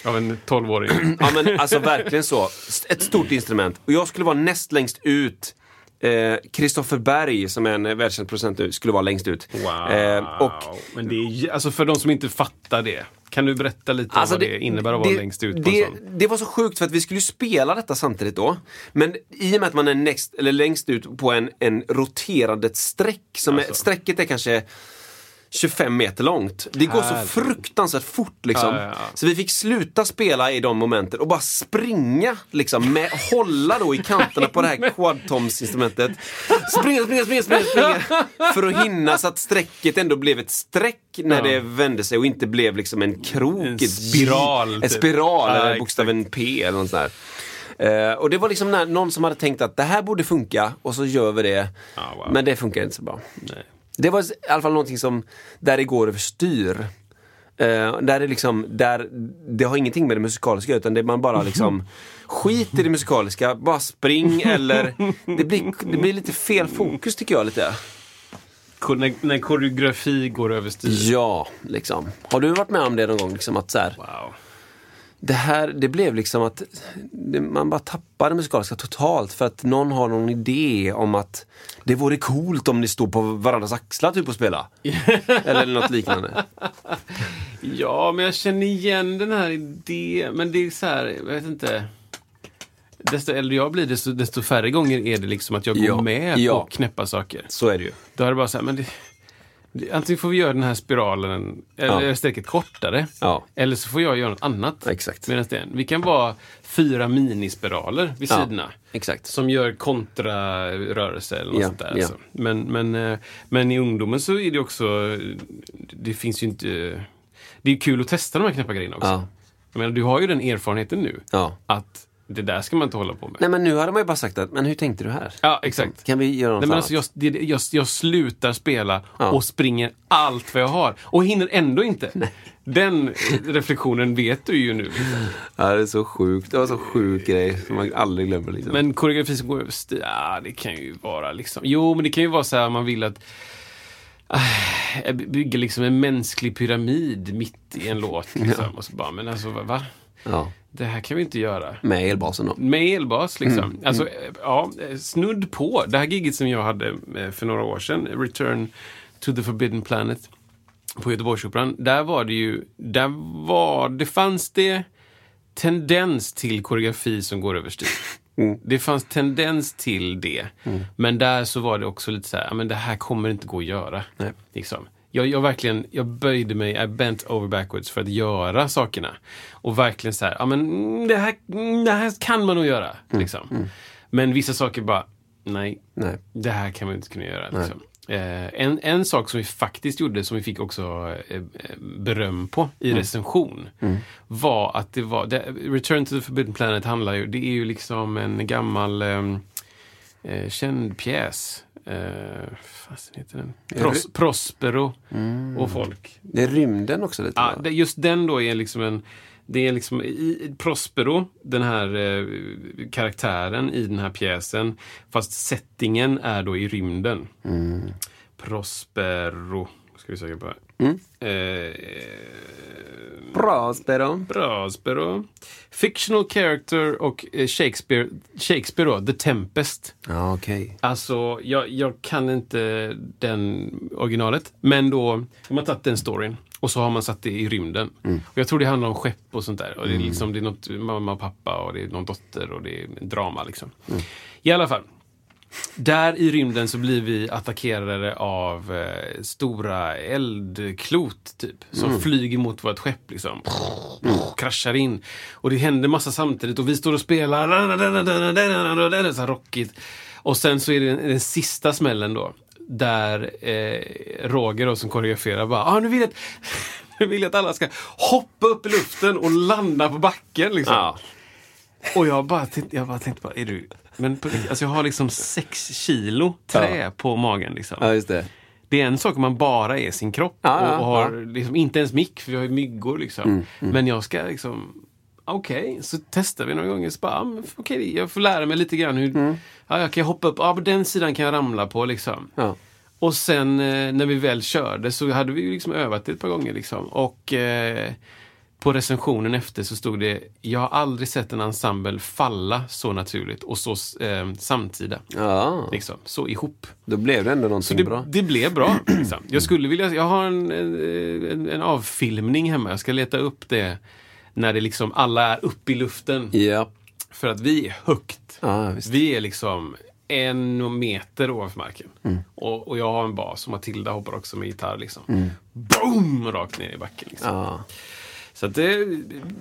A: Av en tolvåring.
B: Ja men alltså verkligen så. S- Ett stort instrument. Och jag skulle vara näst längst ut. Eh, Christopher Berg, som är en eh, världskänd producent nu, skulle vara längst ut. Eh, och
A: Men det är, ju- alltså för de som inte fattar det, kan du berätta lite om vad det, innebär att vara längst ut på en
B: Alltså, det,
A: sån?
B: det var så sjukt för att vi skulle ju spela detta samtidigt då. Men i och med att man är next, eller längst ut på en, en roterande streck. Som
A: Alltså.
B: är, strecket är kanske 25 meter långt. Det går så
A: Härligt.
B: fruktansvärt fort liksom.
A: Ja, ja, ja.
B: Så vi fick sluta spela i de momenten och bara springa liksom. Med, hålla då i kanterna på det här quadtoms-instrumentet. Springa, springa, springa, springa, springa. För att hinna så att strecket ändå blev ett streck när det vände sig och inte blev liksom en krok.
A: En
B: ett
A: spiral,
B: En
A: typ.
B: spiral
A: Ja,
B: eller
A: exakt.
B: bokstaven P eller något sånt där. Eh, och det var liksom när någon som hade tänkt att det här borde funka och så gör vi det.
A: Ja, wow.
B: Men det funkar inte så bra. Det var i alla fall någonting som, där det går överstyr. Eh, där det liksom, där, det har ingenting med det musikaliska utan det man bara liksom skit i det musikaliska, bara spring eller det blir, det blir lite fel fokus tycker jag lite.
A: Ko- När, när koreografi går överstyr.
B: Ja, liksom. Har du varit med om det någon gång? Liksom att så här,
A: Wow.
B: det här, det blev liksom att det, man bara tappar det musikaliska totalt för att någon har någon idé om att det vore coolt om ni stod på varandras axlar typ och spela. Eller något liknande.
A: Ja, men jag känner igen den här idén. Men det är så här, jag vet inte. Desto äldre jag blir, desto, desto färre gånger är det liksom att jag går
B: Ja,
A: med
B: ja.
A: på knäppa saker.
B: Så är det ju.
A: Då är det bara så här, men det, det, antingen får vi göra den här spiralen, eller
B: Ja.
A: strecket kortare.
B: Ja.
A: Eller så får jag göra något annat.
B: Exakt.
A: Medan det är en- vi kan vara fyra minispiraler vid
B: Ja,
A: sidorna.
B: exakt.
A: Som gör kontrarörelse eller något
B: Ja,
A: sånt där.
B: ja.
A: Alltså. Men, men, eh, men i ungdomen så är det också, det finns ju inte, det är kul att testa de här knäppa grejerna också.
B: Ja.
A: Jag menar, du har ju den erfarenheten nu
B: Ja.
A: att det där ska man inte hålla på med.
B: Nej men nu hade man ju bara sagt att, men hur tänkte du här?
A: Ja, exakt.
B: Kan vi göra något
A: Nej, men
B: annat?
A: alltså, jag, det, det- jag, jag slutar spela
B: Ja.
A: och springer allt vad jag har och hinner ändå inte. Den reflektionen vet du ju nu.
B: Ja, det är så sjukt. Det var så sjuk grej som man aldrig glömmer. Liksom.
A: Men koreografi som går överstyr, ja, det kan ju vara liksom... Jo, men det kan ju vara så här om man vill att... Ah, bygga liksom en mänsklig pyramid mitt i en låt. Liksom. Och så bara, men alltså, va- va?
B: ja.
A: Det här kan vi inte göra.
B: Med elbasen då.
A: Med elbas liksom. Alltså, eh, ja, eh, snudd på. Det här giget som jag hade eh, för några år sedan, Return to the Forbidden Planet på Göteborgsoperan. Där var det ju, där var, det fanns det tendens till koreografi som går överstyr. Det fanns tendens till det. Men där så var det också lite så här, "Ja, men det här kommer inte gå att göra. Liksom. Jag, jag verkligen, jag böjde mig, I bent over backwards för att göra sakerna. Och verkligen så här, "Ja, men mm, det här, mm, det här kan man nog göra. Liksom. Men vissa saker bara, nej,
B: Nej.
A: det här kan man inte kunna göra. Liksom. Eh, en, en sak som vi faktiskt gjorde, som vi fick också eh, eh, beröm på i recension, var att det var... Det, Return to the Forbidden Planet handlar ju... Det är ju liksom en gammal ehm, eh, känd pjäs. Eh, fasen heter den? Pros, Prospero och folk.
B: Det är rymden också lite.
A: Ja,
B: va?
A: det, just den då är liksom en... Det är liksom i i Prospero, den här eh, karaktären i den här pjäsen, fast settingen är då i rymden. Prospero, ska vi söka på. Mm. Eh,
B: Bra Spero.
A: Prospero. Fictional character och eh, Shakespeare, Shakespeare då, The Tempest.
B: Ja, okej.
A: Alltså, jag, jag kan inte den originalet. Men då har man tagit den storyn och så har man satt det i rymden. Och jag tror det handlar om skepp och sånt där. Och det, är liksom, det är något mamma och pappa och det är någon dotter och det är en drama liksom. I alla fall. Där i rymden så blir vi attackerade av eh, stora eldklot typ. Som flyger mot vårt skepp liksom. Kraschar in. Och det händer massa samtidigt och vi står och spelar. Så här rockigt. Och sen så är det den, den sista smällen då. Där eh, Roger då, som koreograferar bara ah, nu, vill jag att, nu vill jag att alla ska hoppa upp i luften och landa på backen. Liksom.
B: Ja.
A: Och jag bara, titt- jag bara tänkte, bara, är du... Men på, riktigt, alltså jag har liksom sex kilo trä på magen. Liksom.
B: ja, just det.
A: Det är en sak om man bara är sin kropp
B: Ja, ja, Mm,
A: och, och har liksom, inte ens mick, för vi har ju myggor. Liksom. Men jag ska liksom... Okej, så testar vi några gånger. Så bara, ah, men f- okej, jag får lära mig lite grann hur...
B: Mm.
A: Ja, jag kan hoppa upp. Ja, på den sidan kan jag ramla på liksom.
B: Ja.
A: Och sen eh, när vi väl körde så hade vi ju liksom övat det ett par gånger. Liksom. Och eh, på recensionen efter så stod det Jag har aldrig sett en ensemble falla så naturligt och så eh, samtida.
B: ja,
A: Liksom, så ihop.
B: då blev det ändå någonting
A: Det,
B: bra.
A: det blev bra. Liksom. Jag skulle vilja, jag har en, en, en- en avfilmning hemma. Jag ska leta upp det när det liksom alla är uppe i luften.
B: Ja.
A: För att vi är högt.
B: Ja, visst.
A: Vi är liksom en meter ovanför marken.
B: Mm.
A: Och, och jag har en bas och Matilda hoppar också med gitarr. Liksom. Boom! Rakt ner i backen. Liksom.
B: Mm. Ja.
A: Så att det,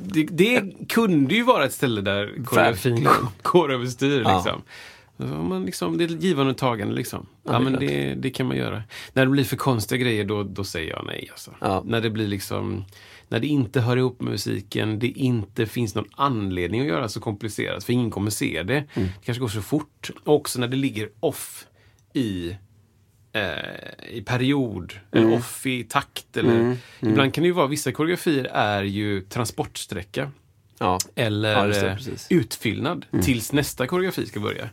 A: det, det kunde ju vara ett ställe där koreografin går överstyr.
B: Ja.
A: Liksom. Då har Man liksom, det är givande och tagande. Liksom. Ja, men det, det kan man göra. När det blir för konstiga grejer, då, då säger jag nej. Alltså.
B: Ja.
A: När det blir liksom... När det inte hör ihop med musiken, det inte finns någon anledning att göra så komplicerat, för ingen kommer se det. Det kanske går så fort. Och också när det ligger off i eh, i period,
B: Mm.
A: eller off i takt. Eller, Ibland kan det ju vara, vissa koreografier är ju transportsträcka
B: Ja. Ja,
A: eller
B: just det,
A: eh,
B: precis. Mm.
A: utfyllnad tills nästa koreografi ska börja.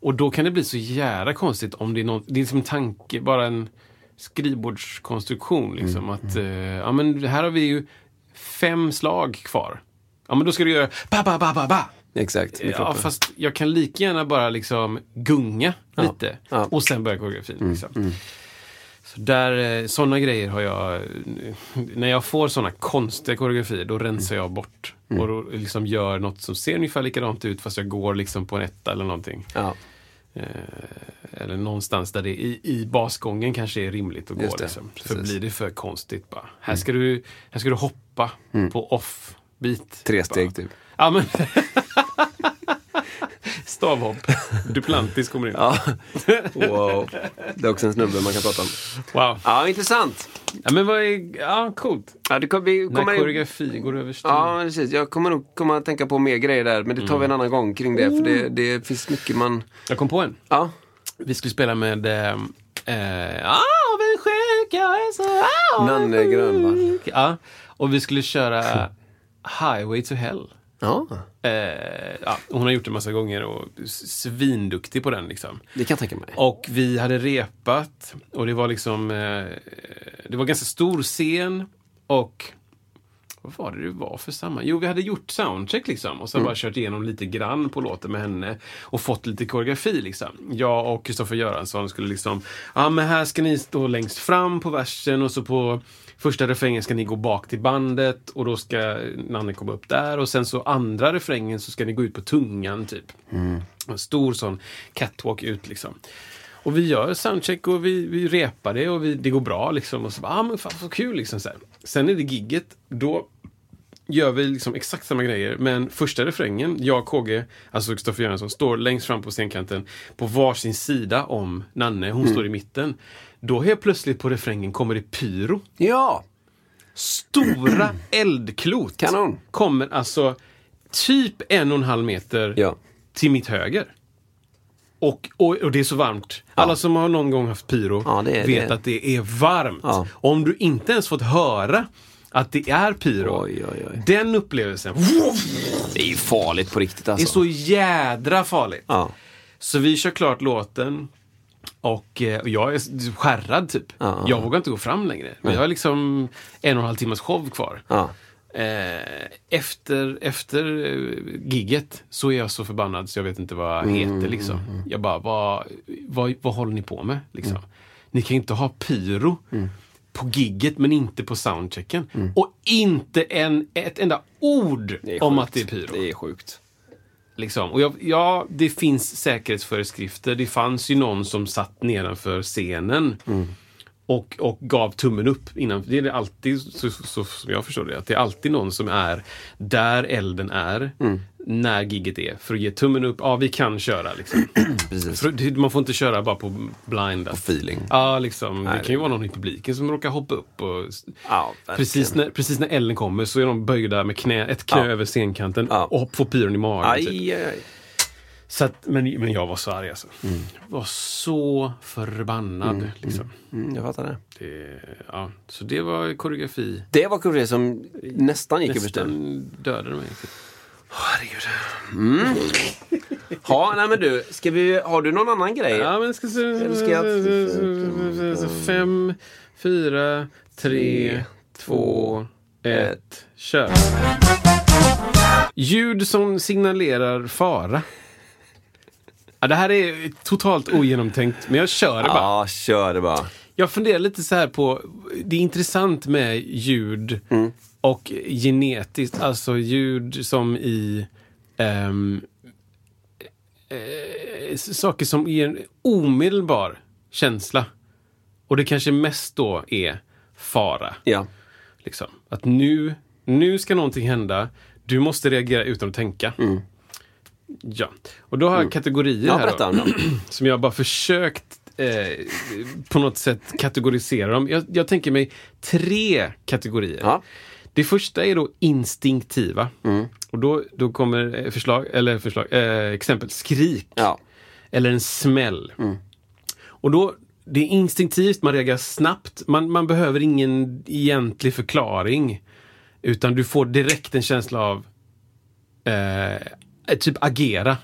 A: Och då kan det bli så jävla konstigt om det är någon, det är som en tanke, bara en skrivbordskonstruktion. Liksom,
B: Mm.
A: Att, eh, ja men här har vi ju fem slag kvar. Ja men då ska du göra ba, ba, ba, ba, ba.
B: Exakt. med
A: Ja,
B: kroppen.
A: fast jag kan lika gärna bara liksom gunga lite
B: ja. Mm,
A: och sen börja koreografin. Liksom. Så där, eh, såna grejer har jag... eh, När jag får såna konstiga koreografier, då rensar jag bort.
B: Mm.
A: Och då liksom gör något som ser ungefär likadant ut fast jag går liksom på en etta eller någonting.
B: Ja.
A: Eh, eller någonstans där det i, i basgången kanske är rimligt att gå.
B: Just det,
A: liksom. För
B: precis. Mm.
A: blir det för konstigt bara. Här ska du, här ska du hoppa på off-beat.
B: Tre steg
A: Bara.
B: typ.
A: Ja, men... Stavhopp. Duplantis kommer in.
B: Ja. Wow. Det är också en snubbe man kan prata om.
A: Wow.
B: Ja, intressant.
A: Ja, men vad är... Ja, coolt.
B: Ja, det kommer, vi
A: När
B: kommer,
A: koreografi går överstyr.
B: ja, precis. Jag kommer nog komma att tänka på mer grejer där, men det tar vi en annan gång kring det. För det, det finns mycket man...
A: Jag kom på en.
B: Ja,
A: Vi skulle spela med... ehm, eh, Avundsjuk, jag är så avundsjuk.
B: Nanne Grönvall.
A: Ja. Och vi skulle köra Highway to Hell.
B: ja.
A: Eh, ja, hon har gjort det massa gånger och s- svinduktig på den liksom.
B: det kan jag tänka mig.
A: Och vi hade repat och det var liksom, eh, det var ganska stor scen och vad var det det var för samma? Jo, vi hade gjort soundcheck liksom och sen bara kört igenom lite grann på låten med henne och fått lite koreografi liksom. Jag och Kristoffer Göransson skulle liksom, ja men här ska ni stå längst fram på versen och så på första refrängen ska ni gå bak till bandet och då ska Nanne komma upp där och sen så andra refrängen så ska ni gå ut på tungan typ. En stor sån catwalk ut liksom. Och vi gör soundcheck och vi, vi repar det och vi, det går bra liksom. Och så bara, ah, men fan så kul liksom. Så här. Sen är det gigget, då gör vi liksom exakt samma grejer. Men första refrängen, jag och KG, alltså Kristoffer Göransson, står längst fram på scenkanten på varsin sida om Nanne. Hon står i mitten. Då helt plötsligt på refrängen kommer det pyro.
B: Ja,
A: Stora eldklot
B: Kanon.
A: kommer alltså typ en och en halv meter
B: Ja.
A: till mitt höger. Och, och, och det är så varmt. Alla som har någon gång haft pyro
B: Ja, det är-
A: vet
B: det-
A: att det är varmt.
B: Ja.
A: Om du inte ens fått höra att det är pyro.
B: Oj, oj, oj.
A: Den upplevelsen
B: det är ju farligt på riktigt
A: är
B: alltså.
A: så jädra farligt.
B: Ja.
A: Så vi kör klart låten och eh, och jag är skärrad typ.
B: ja,
A: Jag vågar inte gå fram längre. Vi har liksom en och en halv timmes show kvar.
B: Ja.
A: Eh, efter efter eh, gigget så är jag så förbannad så jag vet inte vad
B: Mm,
A: jag heter liksom. Jag bara, vad, vad, vad håller ni på med? Liksom.
B: Mm.
A: Ni kan ju inte ha pyro på gigget men inte på soundchecken. Och inte en, ett enda ord
B: Mm. Det är
A: om
B: sjukt.
A: att det är pyro.
B: Det är sjukt.
A: Liksom. Och jag, ja, det finns säkerhetsföreskrifter. Det fanns ju någon som satt nedanför scenen och, och gav tummen upp. Innan. Det är det alltid, så, så, så, som jag förstår det, att det är alltid någon som är där elden är när gigget är. För att ge tummen upp, ja vi kan köra liksom.
B: Precis.
A: För det- man får inte köra bara på blind. På
B: feeling.
A: Ja, liksom. det kan ju vara någon i publiken som råkar hoppa upp. Och s-
B: Ja, verkligen.
A: precis, när, precis när elden kommer så är de böjda med knä, ett knä över scenkanten
B: Ja.
A: och får pyron i magen. typ.
B: Aj, aj, aj.
A: Så att, men, men jag var så arg alltså. Jag var så förbannad. Liksom.
B: Mm, jag fattar det.
A: Det, ja. Så det var koreografi.
B: Det var kuriosa som nästan gick över styr.
A: Den dödade mig.
B: Herregud. Mm. Ja, nej men du, ska vi, har du någon annan grej?
A: Ja, men ska se...
B: Ska
A: jag... Fem, fyra, tre, två, ett, kör. Ljud som signalerar fara. Ja, det här är totalt ogenomtänkt, men jag kör det bara.
B: Ja, kör det bara.
A: Jag funderar lite så här på, det är intressant med ljud
B: Mm.
A: och genetiskt, alltså ljud som i ehm, eh, saker som ger en omedelbar känsla. Och det kanske mest då är fara.
B: Ja.
A: Liksom. Att nu, nu ska någonting hända, du måste reagera utan att tänka. Ja, och då har jag kategorier
B: Mm. Ja,
A: här. då
B: berätta om dem.
A: som jag bara försökt eh, på något sätt kategorisera dem. Jag, jag tänker mig tre kategorier.
B: Ja. Mm.
A: Det första är då instinktiva. Och då, då kommer eh, förslag, eller förslag, eh, exempel skrik
B: Ja.
A: eller en smäll. Och då, det är instinktivt, man reagerar snabbt. Man, man behöver ingen egentlig förklaring. Utan du får direkt en känsla av eh, typ agera.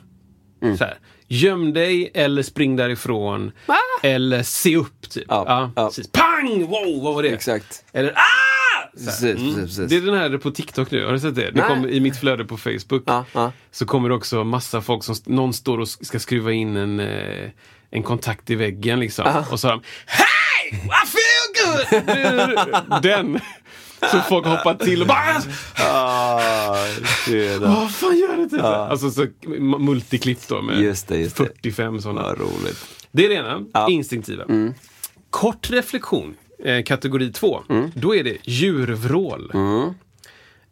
B: Mm.
A: Så här. Göm dig eller spring därifrån. Eller se upp. Typ.
B: Ja, ja.
A: Precis. Pang! Wow, vad var det?
B: Exakt.
A: Eller ah! Så här.
B: Precis, precis,
A: Det är
B: precis.
A: den här på TikTok nu, har du sett det? det
B: Nej.
A: kom I mitt flöde på Facebook
B: Ja, ja.
A: så kommer det också massa folk som, någon står och ska skruva in en, eh, en kontakt i väggen liksom. Och så har de Hej! I feel good! Den. Så folk hoppar till och bara
B: Ah,
A: Vad fan gör det? Typ? Alltså så m- multiklipp då med
B: Just det, just det.
A: 45 sådana.
B: Vad roligt.
A: Det är det ena, instinktiva. Kort reflektion, eh, kategori två. Då är det djurvrål.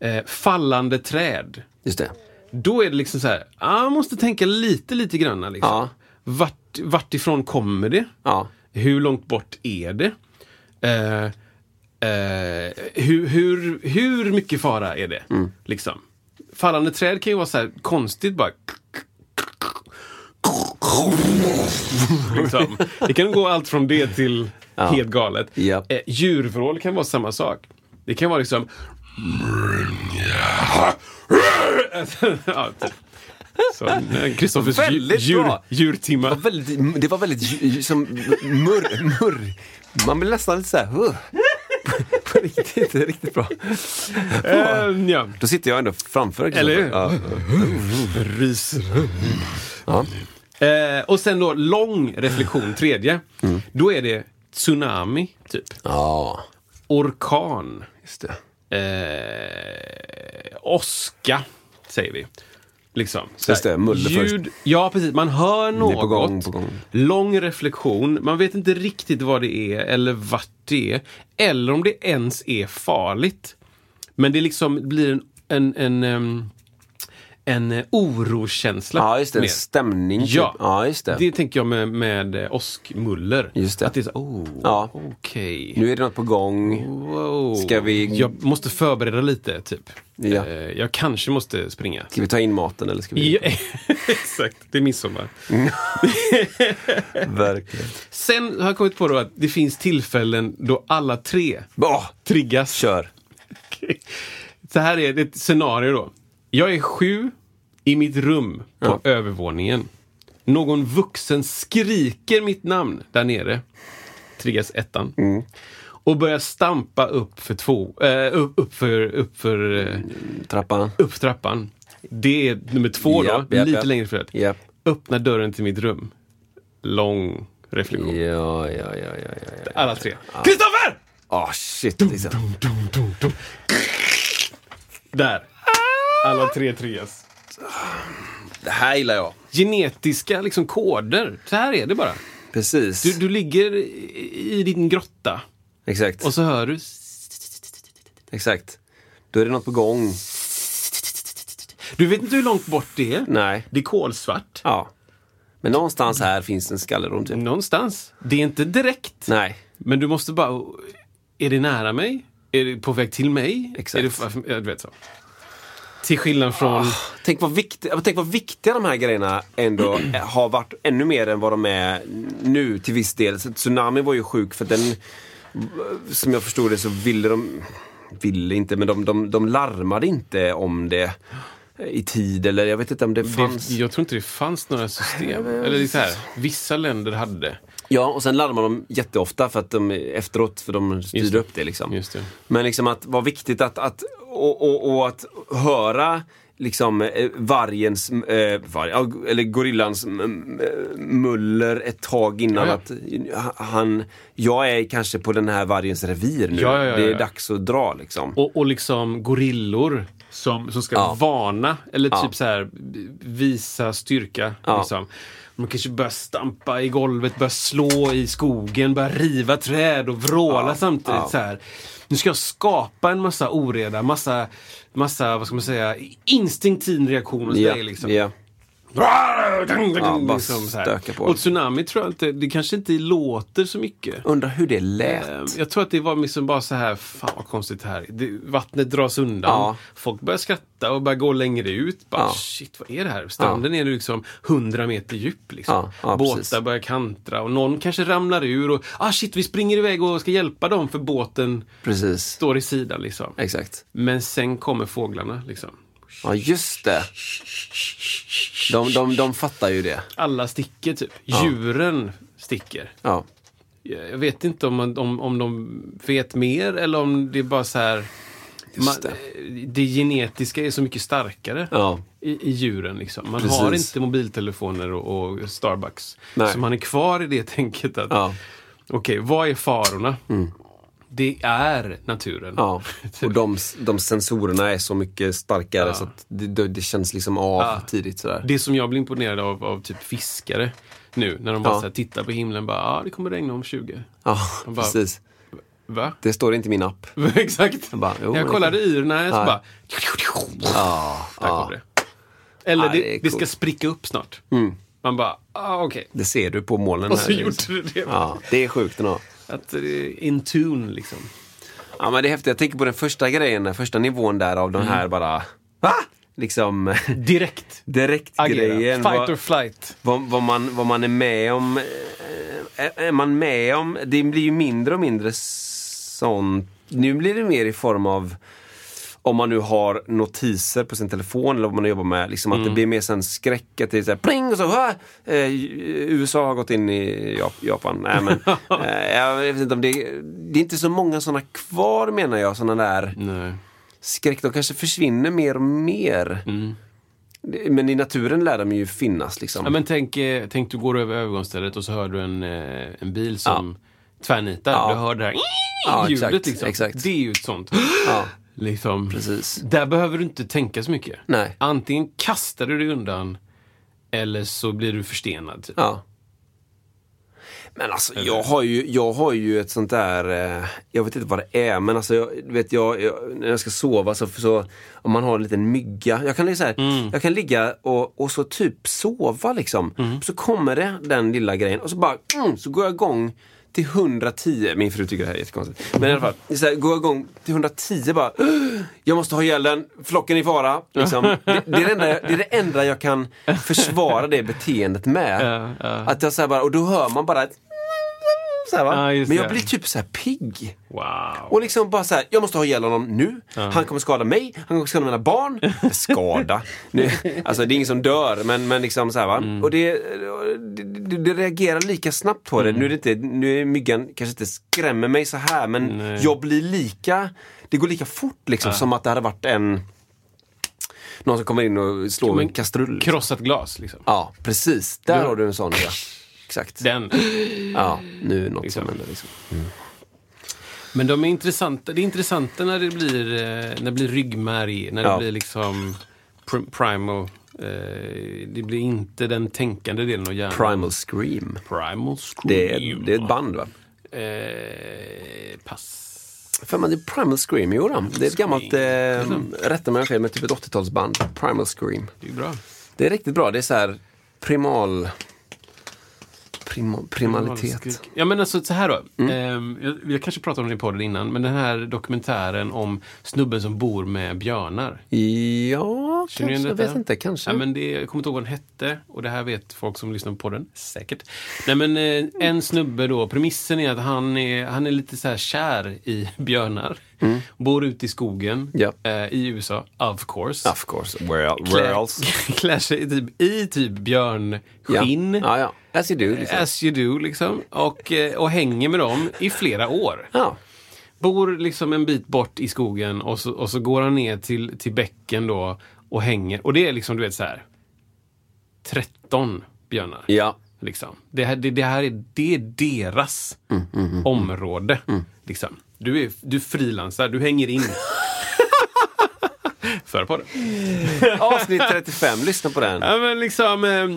A: Eh, fallande träd.
B: Just det.
A: Då är det liksom så här, ah, man måste tänka lite, lite granna. Liksom.
B: Ja.
A: Vart, vart ifrån kommer det?
B: Ja.
A: Hur långt bort är det? Eh, eh, hur, hur, hur mycket fara är det?
B: Mm.
A: Liksom. Fallande träd kan ju vara så här konstigt bara. Liksom. Det kan gå allt från det till helt galet.
B: Japp.
A: Eh, djurvrål kan vara samma sak. Det kan vara liksom Ja, typ. Så, eh, Kristoffers djur,
B: Väldigt
A: djur,
B: bra.
A: djurtimma.
B: Väldigt, det var väldigt dju- dju- som murr, murr. Man blir nästan lite såhär... Uh. På riktigt, det är riktigt bra.
A: Eh, ja.
B: Då sitter jag ändå framför.
A: Eller hur?
B: Ja.
A: Ryser. Eh, och sen då lång reflektion, tredje.
B: Mm.
A: Då är det tsunami, typ.
B: ja,
A: Orkan.
B: just det.
A: Eh, oska, säger vi. Liksom. Så
B: Just
A: här,
B: det, muller
A: först. Ja, precis. Man hör något.
B: på gång, på gång.
A: Lång reflektion. Man vet inte riktigt vad det är eller vart det är. Eller om det ens är farligt. Men det liksom blir en, en, en, em, en eh, oroskänsla.
B: Ja, just det. En
A: mer.
B: stämning. typ.
A: Ja.
B: ja, just det.
A: Det tänker jag med, med eh, åskmuller.
B: Just det.
A: Att det är så, oh,
B: Ja.
A: okej.
B: Nu är det något på gång.
A: Wow.
B: Ska vi-
A: Jag måste förbereda lite, typ.
B: Ja.
A: Eh, Jag kanske måste springa.
B: Ska vi ta in maten eller ska vi...
A: Ja, exakt, det är midsommar.
B: Verkligen.
A: Sen har jag kommit på då att det finns tillfällen då alla tre
B: Åh,
A: triggas.
B: kör.
A: Okej. Så här är det ett scenario då. Jag är sju i mitt rum på övervåningen. Någon vuxen skriker mitt namn där nere. Triggas ettan.
B: Mm.
A: Och börjar stampa upp för två, eh, upp, upp för, upp för, eh,
B: Mm. Trappan.
A: upp trappan. Det är nummer två
B: Japp,
A: då,
B: japp,
A: lite
B: japp.
A: längre förut.
B: Japp.
A: Öppna dörren till mitt rum. Lång reflektion.
B: Ja, ja, ja, ja, ja. ja.
A: Alla tre. Kristoffer!
B: Ah, shit. Liksom.
A: Där. Alla tre triggas.
B: Det här gillar jag.
A: genetiska liksom, koder. Så här är det bara.
B: Precis.
A: Du, du ligger i i din grotta
B: Exakt.
A: och så hör du...
B: Exakt. Då är det något på gång.
A: Du vet inte hur långt bort det är.
B: Nej.
A: Det är kolsvart.
B: Ja. Men någonstans här finns en skallerorm typ.
A: Någonstans. Det är inte direkt.
B: Nej.
A: Men du måste bara... Är det nära mig? Är det på väg till mig?
B: Exakt. Ah,
A: Är det, fa- ja, du vet så. Till skillnad från...
B: Tänk vad, vikt, tänk vad viktiga de här grejerna ändå har varit ännu mer än vad de är nu till viss del. Så tsunami var ju sjuk för den, som jag förstod det så ville de, ville inte, men de, de, de larmade inte om det i tid eller jag vet inte om det fanns.
A: Det, jag tror inte det fanns några system. Eller det är så här, vissa länder hade.
B: Ja, och sen larmar de jätteofta för att de efteråt, för de styr
A: det.
B: upp det liksom.
A: Just det.
B: Men liksom att vara viktigt att, att och, och, och att höra liksom eh, vargens, eh, varg, ja, eller gorillans mm, eh, muller ett tag innan
A: Ja,
B: att eh, han, jag är kanske på den här vargens revir nu.
A: Ja, ja, ja,
B: det är
A: ja.
B: dags att dra liksom.
A: Och, och liksom gorillor som, som ska
B: Ja.
A: varna eller typ så här visa styrka.
B: Ja.
A: Liksom. De kanske börjar stampa i golvet, börjar slå i skogen, börjar riva träd och vråla samtidigt. Så här. Nu ska jag skapa en massa oreda, massa, massa vad ska man säga, instinktiv reaktion hos
B: ja,
A: dig. Liksom.
B: ja. bara
A: Liksom så här.
B: stöka på.
A: Och tsunami tror jag inte, det kanske inte låter så mycket.
B: Undrar hur det lät.
A: Ehm, Jag tror att det var liksom bara så här, fan vad konstigt det här är." det, Vattnet dras undan.
B: Ja.
A: Folk börjar skratta och börjar gå längre ut. Bara,
B: Ja.
A: Shit, vad är det här? Stranden är nu liksom 100 meter djup. Liksom.
B: Ja, ja,
A: Båtar
B: precis.
A: börjar kantra och någon kanske ramlar ur och ah shit, vi springer iväg och ska hjälpa dem för båten
B: Precis.
A: står i sidan. Liksom.
B: Exakt.
A: Men sen kommer fåglarna. Liksom.
B: Ja, just det. De, de, de fattar ju det.
A: Alla sticker typ. Djuren sticker.
B: Ja.
A: Jag jag vet inte om, man, om, om de vet mer eller om det är bara så här... Man,
B: det.
A: eh, det genetiska är så mycket starkare
B: Ja.
A: i, i djuren. Liksom. Man
B: Precis.
A: har inte mobiltelefoner och, och Starbucks.
B: Nej.
A: Så man är kvar i det tänket att
B: Ja. Mm.
A: Okej, vad är farorna? Det är naturen. Typ.
B: Ja, och de, de sensorerna är så mycket starkare så att det, det, det känns liksom av tidigt sådär.
A: Det som jag blir imponerad av, av typ fiskare nu, när de bara
B: Ja.
A: så här tittar på himlen bara, ah, det kommer regna om 20.
B: Ja,
A: De bara-
B: precis.
A: Va?
B: Det står inte i min app.
A: Exakt.
B: bara, jo,
A: När jag
B: men
A: kollade yrorna så
B: Ja.
A: bara...
B: Ja,
A: Där kom det. Eller
B: Ja,
A: det,
B: det är
A: det, ska
B: coolt. Mm.
A: spricka upp snart. Man bara, ah, okej.
B: Det ser du på molnen.
A: Och så
B: här.
A: gjorde du det.
B: Ja, det är sjukt ändå.
A: Att det är in tune liksom.
B: Ja, men det är häftigt. Jag tänker på den första grejen, den första nivån där av den här bara... Va? Liksom
A: Direkt.
B: direktgrejen.
A: Agera. Fight or
B: Vad,
A: flight.
B: vad, vad, man, vad man är med om. eh, Är, är man med om... Det blir ju mindre och mindre sånt. Nu blir det mer i form av om man nu har notiser på sin telefon eller vad man nu jobbar med. Liksom
A: Mm.
B: Att det blir mer sen skräck, att det är såhär pling och så "Hä?" eh, USA har gått in i Jap- Japan. Nej, men, eh, jag vet inte om det, det är inte så många sådana kvar menar jag, sådana där
A: Nej.
B: skräck. De kanske försvinner mer och mer. Det- Men i naturen lär de ju finnas liksom.
A: Mm. Ja, men tänk, eh, tänk du går över övergångsstället och så hör du en, eh, en bil som tvärnitar. Du hör det här
B: Ja,
A: ljudet
B: exakt,
A: liksom.
B: exakt.
A: Det är ju ett sånt.
B: Ja.
A: Liksom.
B: Precis.
A: Där behöver du inte tänka så mycket.
B: Nej.
A: Antingen kastar du dig undan eller så blir du förstenad. Typ.
B: Ja. Men alltså jag har ju, jag har ju ett sånt där, eh, jag vet inte vad det är, men alltså jag, du vet, jag, jag, när jag ska sova så, så om man har en liten mygga, jag kan, ligga så här, jag kan ligga och, och så typ sova liksom. Så kommer det den lilla grejen och så bara, mm, så går jag igång till 110, min fru tycker det här är jättekonstigt. Men i alla fall, det är så här, går jag igång till 110 bara, "Åh, jag måste ha ihjäl den, flocken är i fara. Liksom. Det, det, är det, enda jag, det är det enda jag kan försvara det beteendet med. Att jag så här bara, och då hör man bara ett så här, va?
A: Ja, just
B: Men jag
A: det.
B: blir typ så här pigg.
A: Wow.
B: Och liksom bara så här, jag måste ha ihjäl honom nu. Han kommer skada mig, han kommer skada mina barn. Skada? Nu, alltså det är ingen som dör, men, men liksom så här va. Och det, det, det, det reagerar lika snabbt på det. Nu är det inte, nu är myggan kanske inte skrämmer mig så här, men jag blir lika, det går lika fort liksom som att det hade varit en, någon som kommer in och slår med en kastrull.
A: Krossat glas liksom.
B: Ja, precis. Där har du en sån ja. Exakt.
A: Den.
B: Ja, nu är något som händer liksom.
A: Men de är intressanta. Det är intressanta när det blir, eh, när det blir ryggmärg, när det
B: Ja.
A: blir liksom pr- primal. Eh, det blir inte den tänkande delen av hjärnan.
B: Primal Scream.
A: Primal Scream.
B: Det är, det är ett band va?
A: Eh, pass.
B: För man, det är Primal Scream, jo då. Det är ett gammalt, eh, rätta mig om jag har fel, men typ ett 80-talsband. Primal Scream.
A: Det är bra.
B: Det är riktigt bra. Det är så här primal... Prima, primalitet.
A: Skrik. Ja men alltså så här då.
B: Mm.
A: Ehm, jag, jag kanske pratade om det i podden innan, men den här dokumentären om snubben som bor med björnar.
B: Ja,
A: Känner
B: kanske.
A: ni
B: Jag
A: detta?
B: vet inte. Kanske.
A: Ja, men det, jag kommer inte ihåg vad den hette och det här vet folk som lyssnar på podden säkert. Nej men eh, en snubbe då, premissen är att han är, han är lite så här kär i björnar. Bor ute i skogen
B: Mm. Ja.
A: eh, i USA, of course.
B: Of course. Where, el- where
A: Klär,
B: else?
A: klär sig i typ, i typ björnskinn.
B: Ja. ja, ja. As you do. Liksom.
A: As you do liksom. Och, eh, och hänger med dem i flera år.
B: Ja.
A: Bor liksom en bit bort i skogen och så, och så går han ner till, till bäcken då och hänger. Och det är liksom, du vet så här. 13 björnar.
B: ja.
A: Liksom. Det, här, det, det här är, det är deras
B: Mm,
A: område. Liksom. Du är du frilansar, du hänger in. För på det.
B: Avsnitt 35, lyssna på den.
A: Ja, men liksom, eh,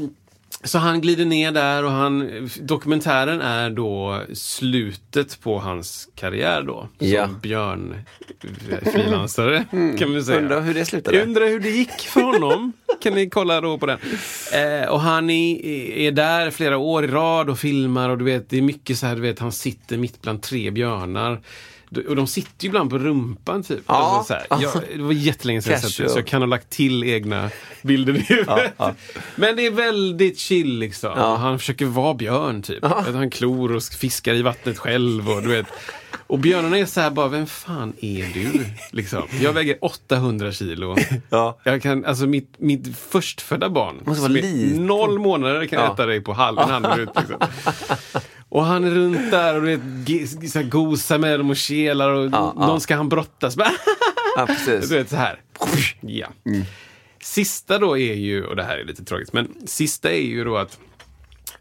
A: så han glider ner där och han, dokumentären är då slutet på hans karriär då. Som
B: Ja. Mm.
A: björnfrilansare kan vi säga.
B: Undrar hur det
A: Jag
B: slutade.
A: undrar hur det gick för honom. kan ni kolla då på den. Eh, och han är, är där flera år i rad och filmar och du vet, det är mycket så här, du vet, han sitter mitt bland tre björnar. Du- Och de sitter ju ibland på rumpan typ.
B: Ja.
A: Alltså, så här. Jag, det var jättelänge sedan jag sett det,
B: Casual.
A: så jag kan ha lagt till egna bilder i huvudet. Men det är väldigt chill liksom. Och Han försöker vara björn typ. Att Han klor och fiskar i vattnet själv och du vet. Och björnarna är så här bara, vem fan är du? Liksom. Jag väger 800 kilo.
B: Ja.
A: Jag kan, alltså mitt, mitt förstfödda barn,
B: Måste vara
A: som är
B: liten.
A: noll månader, kan
B: Ja.
A: äta dig på halv, en halv minut. Liksom. Och han är runt där och du vet, ge- så här, gosar med dem och kelar och någon ska han brottas med.
B: Ja,
A: Du
B: precis.
A: vet så här. Ja. Sista då är ju, och det här är lite tragiskt, men sista är ju då att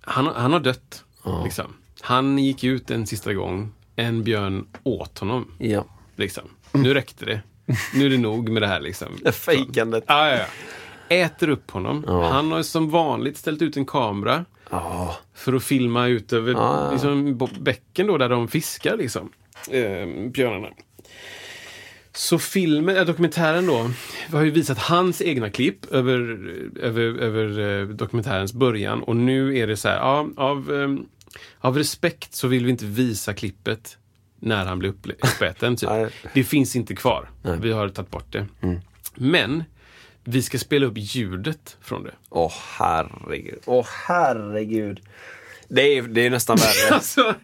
A: han, han har dött. Liksom. Han gick ut en sista gång. En björn åt honom.
B: Ja.
A: Liksom. Nu räckte det. Nu är det nog med det här. Liksom.
B: Fejkandet.
A: Ja, ja, ja. Äter upp honom. Han har som vanligt ställt ut en kamera
B: Ja.
A: för att filma ut över liksom, bo- bäcken då, där de fiskar, liksom, eh, björnarna. Så filmen, eh, dokumentären då, har ju visat hans egna klipp över, över, över eh, dokumentärens början och nu är det så här, ja, av, eh, av respekt så vill vi inte visa klippet när han blir upple- uppäten. Typ.
B: Nej.
A: det finns inte kvar. Vi har tagit bort det. Men vi ska spela upp ljudet från det.
B: Åh herregud. Åh herregud. Det är, det är nästan värre.
A: Alltså,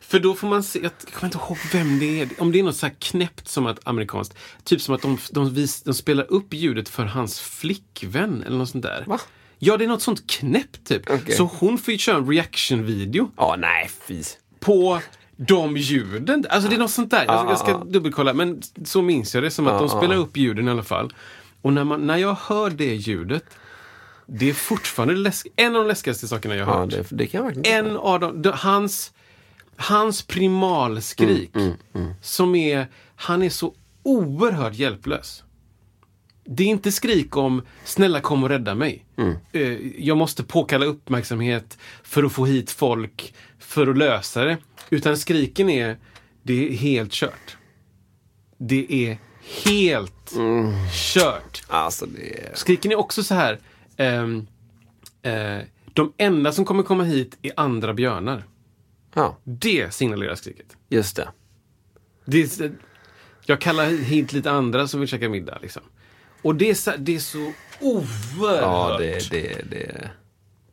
A: för då får man se, jag kommer inte ihåg vem det är. Om det är något så här knäppt som att amerikanskt. Typ som att de, de, vis, de spelar upp ljudet för hans flickvän eller något sånt där.
B: Va?
A: Ja, det är något sånt knäppt typ.
B: Okej.
A: Så hon får ju köra en reaction-video
B: Ja, nej fy.
A: på de ljuden. Alltså det är något sånt där.
B: Ah,
A: Jag, jag ska dubbelkolla, men så minns jag det. Som att de spelar upp ljuden i alla fall. Och när, man, när jag hör det ljudet, det är fortfarande läsk, en av de läskigaste sakerna jag har
B: Ja,
A: hört.
B: det, det kan jag verkligen
A: En av dem, de, hans, hans primalskrik som är, han är så oerhört hjälplös. Det är inte skrik om “snälla kom och rädda mig”. Eh, Jag måste påkalla uppmärksamhet för att få hit folk för att lösa det. Utan skriken är “det är helt kört”. Det är helt kört.
B: Alltså det är...
A: Skriken är också så här. ehm, eh, de enda som kommer komma hit är andra björnar.
B: Ja,
A: Det signalerar skriket.
B: just det.
A: Det är, så- jag kallar hit lite andra som vill käka middag. Liksom. Och det är så, det är så oerhört
B: Ja, det, det, det.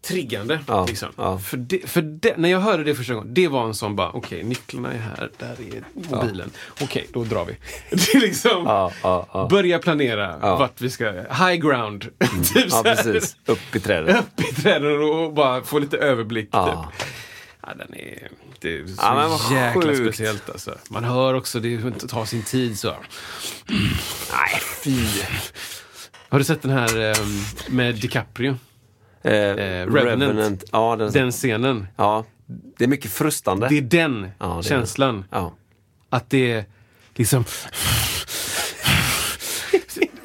A: triggande.
B: Ja,
A: liksom.
B: ja.
A: För, det, för det, när jag hörde det första gången, det var en sån bara, okej, nycklarna är här, där är mobilen. Okej, då drar vi. Det är liksom,
B: Ja, ja, ja. Mm.
A: börja planera vart vi ska, high ground. typ
B: Ja,
A: så här.
B: precis. Upp i trädet.
A: upp i träden och bara få lite överblick.
B: Ja.
A: Typ. Ja, den är, det är så
B: Ja, men vad
A: jäkla
B: sjukt.
A: speciellt alltså. Man hör också, det tar sin tid så.
B: Nej, fy.
A: Har du sett den här eh, med DiCaprio?
B: Eh,
A: Revenant.
B: Ja, den,
A: Den scenen.
B: ja, det är mycket frustande.
A: Det är den
B: Ja, det är
A: känslan.
B: Ja.
A: Att det är liksom...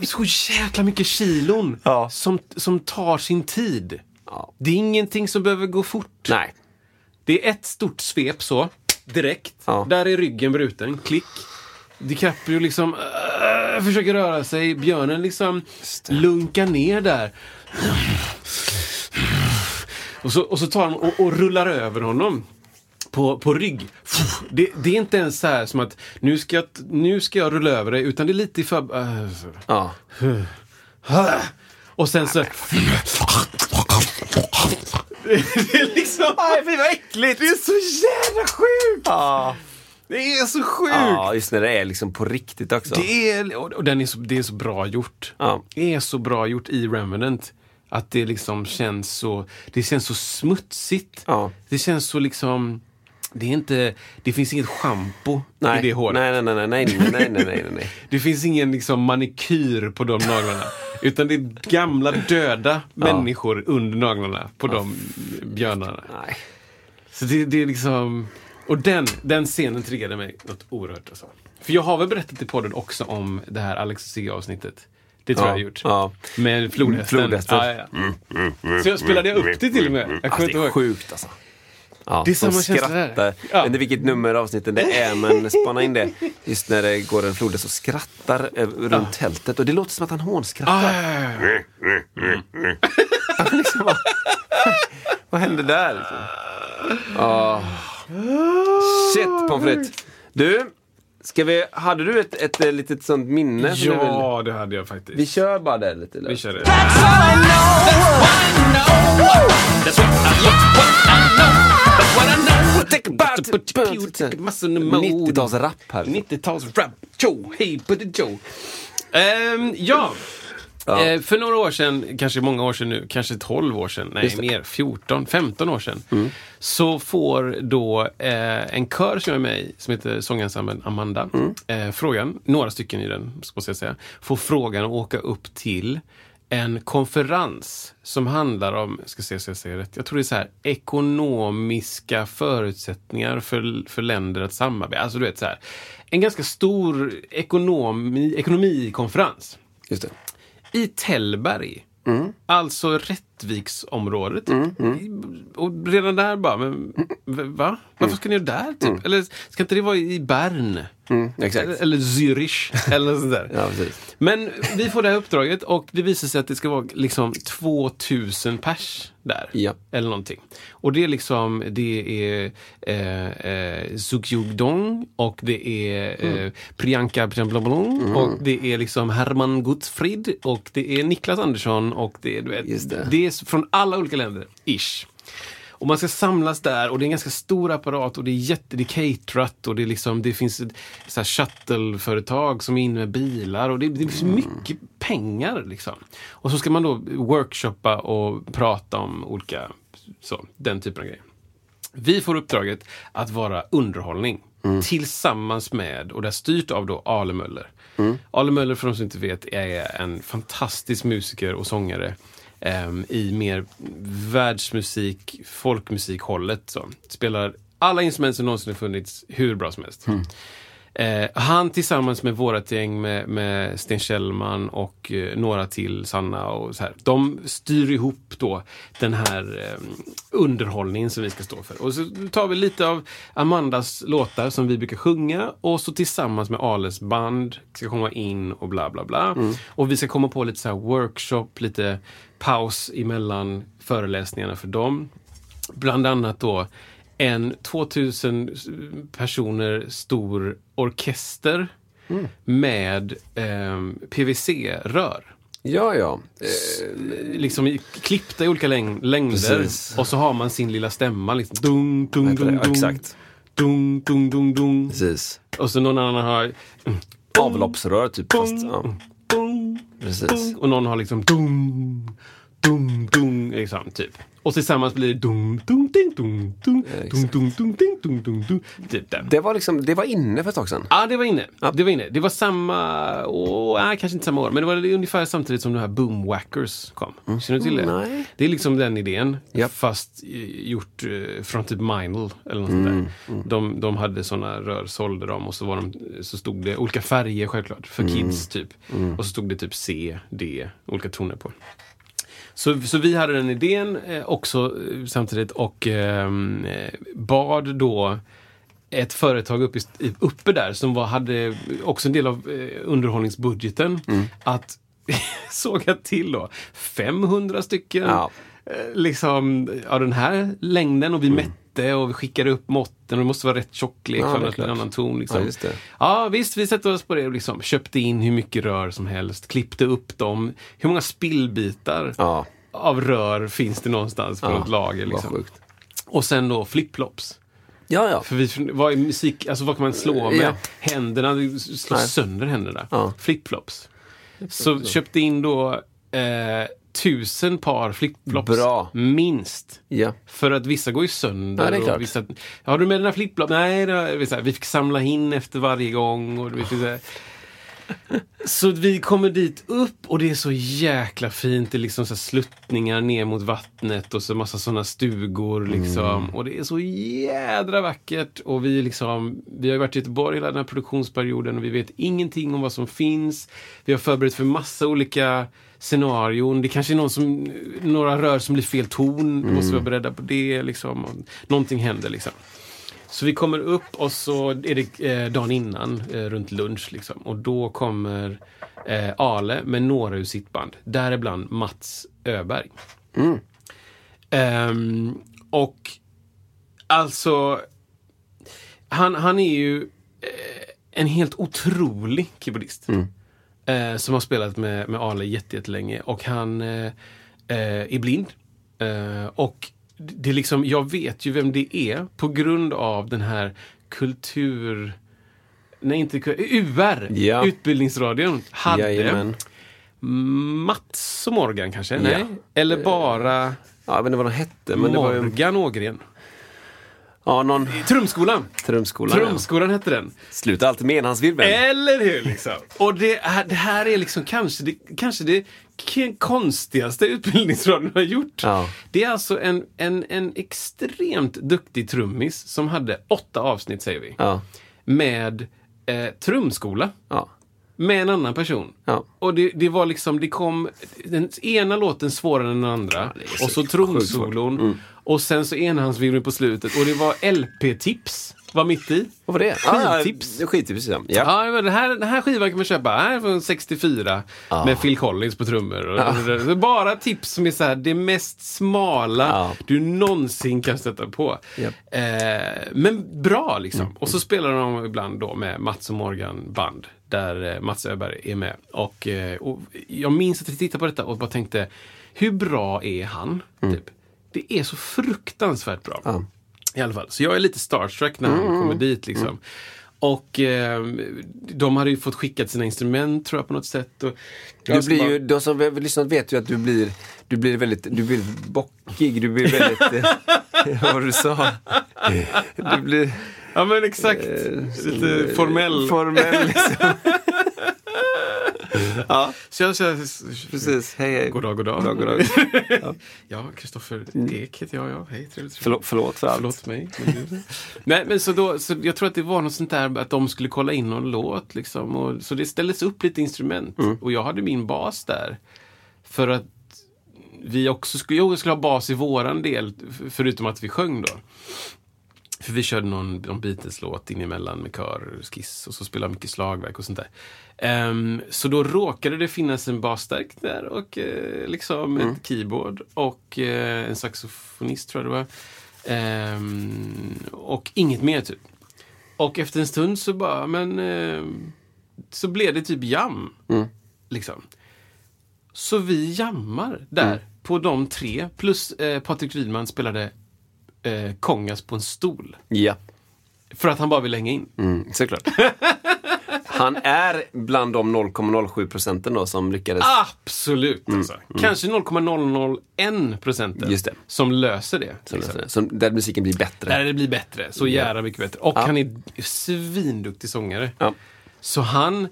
A: Så jäkla mycket kilon
B: Ja.
A: som, som tar sin tid.
B: Ja.
A: Det är ingenting som behöver gå fort.
B: Nej.
A: Det är ett stort svep så, direkt.
B: Ja.
A: Där är ryggen bruten, klick. DiCaprio liksom äh, försöker röra sig, björnen liksom lunkar ner där. Och så, och så tar han och, och rullar över honom. På, på rygg. Det, det är inte ens så här som att nu ska, jag, nu ska jag rulla över dig, utan det är lite i för... äh, så.
B: Ja.
A: Ah! Och sen så... Det är liksom...
B: Nej, fy vad äckligt!
A: Det är så jävla sjukt!
B: Ja,
A: Det är så sjukt!
B: ja just när det är liksom på riktigt också.
A: Det är, och och den är så, det är så bra gjort.
B: Ja.
A: Det är så bra gjort i Remnant. Att det liksom känns så, det känns så smutsigt.
B: Ja.
A: Det känns så liksom, det är inte, det finns inget schampo
B: nej.
A: i det håret.
B: Nej, nej, nej, nej, nej, nej, nej, nej, nej, nej.
A: Det finns ingen liksom manikyr på de naglarna. utan det är gamla döda människor under naglarna på de björnarna.
B: nej.
A: Så det, det är liksom... Och den, den scenen triggade mig något oerhört. Alltså. För jag har väl berättat i podden också om det här Alex C-avsnittet. Det tror
B: Ja,
A: jag jag har gjort.
B: ja.
A: Med flodhästen.
B: Flodhästen.
A: Ja, ja, ja. Så jag spelade upp det till och med. Jag
B: Alltså,
A: kommer
B: det
A: inte
B: är
A: ihåg.
B: sjukt alltså. Ja,
A: Det är samma
B: de
A: känsla
B: skrattar.
A: där.
B: Jag
A: Ja.
B: vet inte vilket nummer av avsnitten det är, men spana in det. Just när det går en flod så skrattar eh, runt tältet och det låter som att han hånskrattar.
A: Ah, ja, ja, ja.
B: liksom, vad, vad hände där? Liksom? Ah. Shit pommes frites. Du, ska vi, hade du ett, ett, eh, litet sånt minne? som du vill-
A: ja, det hade jag faktiskt.
B: Vi kör bara det lite. eller?
A: Vi kör det. Nittio-
B: 90-talsrap här.
A: 90-tals-rap. Tjo, hej på det Joe. Ehm, ja. Eh, för några år sedan, kanske många år sedan nu, kanske 12 år sedan, nej mer, 14, 15 år sedan. Så får då eh, en kör som jag är med i, som heter sångensemblen Amanda, eh, frågan, några stycken i den, måste jag säga, får frågan att åka upp till en konferens som handlar om, ska se så jag säger rätt, jag tror det är så här, ekonomiska förutsättningar för, för länder att samarbeta. Alltså du vet så här, en ganska stor ekonomi, ekonomikonferens
B: Just det.
A: i Tällberg.
B: Mm.
A: Alltså Rättviksområdet.
B: mm.
A: Och redan där bara, men v- va? Varför ska ni göra där? Typ? Eller ska inte det vara i Bern?
B: Mm. exakt.
A: Eller, eller Zürich? Eller sådär.
B: Ja, precis.
A: Men vi får det här uppdraget och det visar sig att det ska vara liksom 2000 pers där.
B: Ja.
A: Eller någonting. Och det är liksom, det är eh, eh, Sukyug Dong och det är eh, Priyanka Prjamblomblom och det är liksom Herman Gutzfrid och det är Niklas Andersson och det är, du vet,
B: Just det.
A: det är s- från alla olika länder, ish. Och man ska samlas där och det är en ganska stor apparat och det är jätte, det är caterat och det, är liksom, det finns ett så här shuttleföretag som är inne med bilar och det, det
B: Mm.
A: finns mycket pengar liksom. Och så ska man då workshoppa och prata om olika, så, den typen av grejer. Vi får uppdraget att vara underhållning. Tillsammans med, och det är styrt av då Ale Möller. Ale Möller, för de som inte vet, är en fantastisk musiker och sångare em, i mer världsmusik, folkmusikhållet. Så. Spelar alla instrument som någonsin har funnits hur bra som helst. Eh, han tillsammans med vårat gäng med, med Sten Kjellman och eh, några till, Sanna och så här. De styr ihop då den här eh, underhållningen som vi ska stå för. Och så tar vi lite av Amandas låtar som vi brukar sjunga och så tillsammans med Ales band ska komma in och bla bla bla. Och vi ska komma på lite så här workshop, lite paus emellan föreläsningarna för dem bland annat då en 2000 personer stor orkester med ehm, PVC-rör.
B: Ja, ja. Eh,
A: Liksom i- klippta i olika läng- längder
B: Precis.
A: och så har man sin lilla stämma. Liksom, dung, dung,
B: Heter det?
A: dung,
B: Ja,
A: dung,
B: exakt.
A: Dung, dung, dung, dung.
B: Precis.
A: Och så någon annan har
B: Avloppsrör typ. Fast, ja,
A: dung,
B: precis.
A: Och någon har liksom dum, dum, dum, liksom, typ. Och tillsammans blir det dum, dum, ding, dum, dum, dum, dum, dum, ding, dum, dum, dum. Typ den.
B: Det var, liksom, det var inne för ett tag sedan.
A: Ja, det var inne. Det var inne. Det var samma, åh, nej, kanske inte samma år, men det var ungefär samtidigt som de här Boomwhackers kom. Känner du till det?
B: Mm. Nej.
A: Det är liksom den idén,
B: Japp.
A: fast eh, gjort eh, från typ Minel eller något
B: Mm,
A: sånt där. De, de hade såna rör, sålde dem och så, var de, så stod det olika färger självklart, för
B: Mm,
A: kids typ. Och så stod det typ C, D, olika toner på. Så, så vi hade den idén eh, också eh, samtidigt och ehm, eh, bad då ett företag uppe, i- i- uppe där som var, hade också en del av eh, underhållningsbudgeten
B: Mm.
A: att såga till då 500 stycken
B: Ja.
A: eh, liksom, av den här längden och vi mätte och vi skickade upp måtten och det måste vara rätt tjocklek
B: Mm. Ja,
A: för annars blir
B: det är
A: det en
B: klart.
A: annan ton. Liksom.
B: Ja, just det.
A: Ja, visst, vi sätter oss på det. och Liksom. Köpte in hur mycket rör som helst, klippte upp dem. Hur många spillbitar
B: Ja.
A: av rör finns det någonstans på
B: Ja,
A: något lager?
B: vad
A: Liksom.
B: sjukt.
A: Och sen då flipflops.
B: Ja, ja.
A: För vi, vad är musik, alltså vad kan man slå med?
B: Ja.
A: Händerna, du slår
B: Nej.
A: sönder händerna.
B: Ja.
A: Flipflops. Så köpte in då eh, tusen par flipflops.
B: Bra.
A: Minst.
B: ja.
A: För att vissa går ju sönder.
B: Ja, det är klart.
A: Och vissa, har du med dina flipflops? Nej, det har, jag- vi, så här, vi fick samla in efter varje gång. Och, vi fick, så, här. så vi kommer dit upp och det är så jäkla fint. Det är liksom så här sluttningar ner mot vattnet och så massa sådana stugor. Liksom. Och det är så jädra vackert. Och vi, liksom, vi har ju varit i Göteborg hela den här produktionsperioden och vi vet ingenting om vad som finns. Vi har förberett för massa olika scenarion. Det kanske är någon som, några rör som blir fel ton. Då måste vi vara beredda på det. Liksom. Och Någonting händer liksom. Så vi kommer upp och så är det eh, dagen innan, eh, runt lunch. Liksom. Och då kommer eh, Ale med några ur sitt band. Däribland Mats Öberg. Ehm, och alltså, han, han är ju eh, en helt otrolig keyboardist.
B: Mm.
A: Eh, som har spelat med, med Ale jätte- jättelänge och han eh, eh, är blind. Eh, och det är liksom, jag vet ju vem det är på grund av den här kultur... Nej, inte ku- UR,
B: Ja.
A: Utbildningsradion, hade
B: Jajamän.
A: Mats och Morgan kanske?
B: Ja.
A: Nej? Eller bara...
B: Ja, men det var vad de hette. Men det var ju...
A: Morgan Ågren.
B: Ja, någon...
A: Trumskolan!
B: Trumskolan. ja. Eh.
A: Trumskolan hette den.
B: Sluta alltid med enhandsvirveln.
A: Eller hur? Liksom. Och det, här- det här är liksom kanske det, kanske det k- konstigaste utbildningsradion har gjort.
B: Ja.
A: Det är alltså en, en, en extremt duktig trummis som hade åtta avsnitt, säger vi,
B: Ja.
A: med eh, trumskola.
B: Ja.
A: Med en annan person.
B: Ja.
A: Och det, det var liksom, det kom den ena låten svårare än den andra. och så trumsolon.
B: Mm.
A: Och sen så enhandsvirveln på slutet. Och det var LP-tips, var mitt i.
B: Vad var det?
A: Skittips.
B: Ah, skittips, ja. ja.
A: Ja, men det här, den här skivan kan man köpa. Den här är från 64
B: Ah.
A: med Phil Collins på trummor. Och, och, och, bara tips som är så här, det mest smala
B: Ja.
A: du någonsin kan sätta på.
B: Ah. Japp.
A: Eh, men bra liksom. Och så spelar de ibland då med Mats och Morgan band. Där eh, Mats Öberg är med. Och, eh, och jag minns att jag tittade på detta och bara tänkte, hur bra är han? Typ. Det är så fruktansvärt bra. I alla fall. Så jag är lite starstruck när han kommer dit. Liksom. Och eh, de hade ju fått skickat sina instrument tror jag på något sätt. Och
B: Du blir ju, de som har lyssnat vet ju att du blir, du blir väldigt, du blir bockig, du blir väldigt, eh, vad du sa. Du blir
A: Ja men exakt.
B: Eh,
A: lite formell.
B: formell liksom.
A: så jag, så jag,
B: Precis, hej hej.
A: God dag, god dag.
B: God dag, god dag.
A: Ja, Kristoffer Ek heter jag. Ja. Hej, trevligt. trevligt.
B: Förlåt, förlåt för allt.
A: Förlåt mig. Men gud. Nej, men så då, så jag tror att det var något sånt där att de skulle kolla in någon låt. Liksom, och, så det ställdes upp lite instrument. Och jag hade min bas där. För att vi också skulle, jag skulle ha bas i våran del, f- förutom att vi sjöng då. För vi körde någon, någon Beatles-låt in emellan med kör, skiss och så spelade mycket slagverk och sånt där. Ehm, så då råkade det finnas en basstärk där och eh, liksom ett keyboard och eh, en saxofonist tror jag det var. Ehm, och inget mer typ. Och efter en stund så bara, men eh, så blev det typ jam. Liksom. Så vi jammar där på de tre plus eh, Patrik Rydman spelade eh, kongas på en stol.
B: Ja,
A: För att han bara vill hänga in.
B: mm, såklart. Han är bland de 0,07 procenten då som lyckades.
A: Ah, Absolut! Alltså. Kanske 0,001 procenten
B: Mm. Just det.
A: som löser det. liksom.
B: Som, där musiken blir bättre.
A: Där det blir bättre. Så jävla mycket bättre. Och han är svinduktig sångare.
B: Ja.
A: Så han,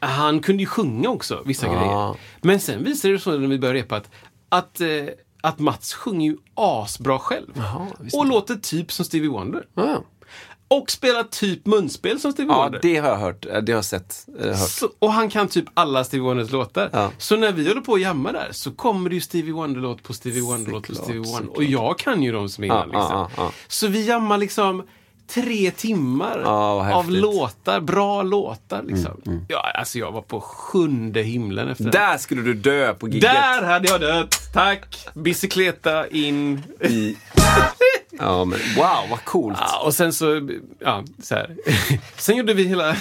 A: han kunde ju sjunga också, vissa grejer. Men sen visade det sig när vi började repa att, att, eh, att Mats sjunger ju asbra själv. och låter typ som Stevie Wonder.
B: Ja,
A: Och spelar typ munspel som Stevie
B: ja
A: Wonder.
B: det har jag hört. Det har jag sett. eh, hört.
A: Så, och han kan typ alla Stevie Wonders låtar.
B: Ja.
A: Så när vi håller på och jammar där så kommer det ju Stevie Wonder-låt på Stevie Wonder-låt på
B: Såklart,
A: Stevie Wonder. Och jag kan ju dem som är innan,
B: Ja,
A: liksom.
B: ja, ja.
A: Så vi jammar liksom tre timmar
B: Ja, vad häftigt. Mm,
A: av låtar, bra låtar liksom. Ja, alltså jag var på sjunde himlen efter det.
B: Där skulle du dö på gigget.
A: Där hade jag dött! Tack! Bicykleta in.
B: I... Ja, men wow, vad coolt.
A: Ja, och sen så, ja, så här. Sen gjorde vi hela,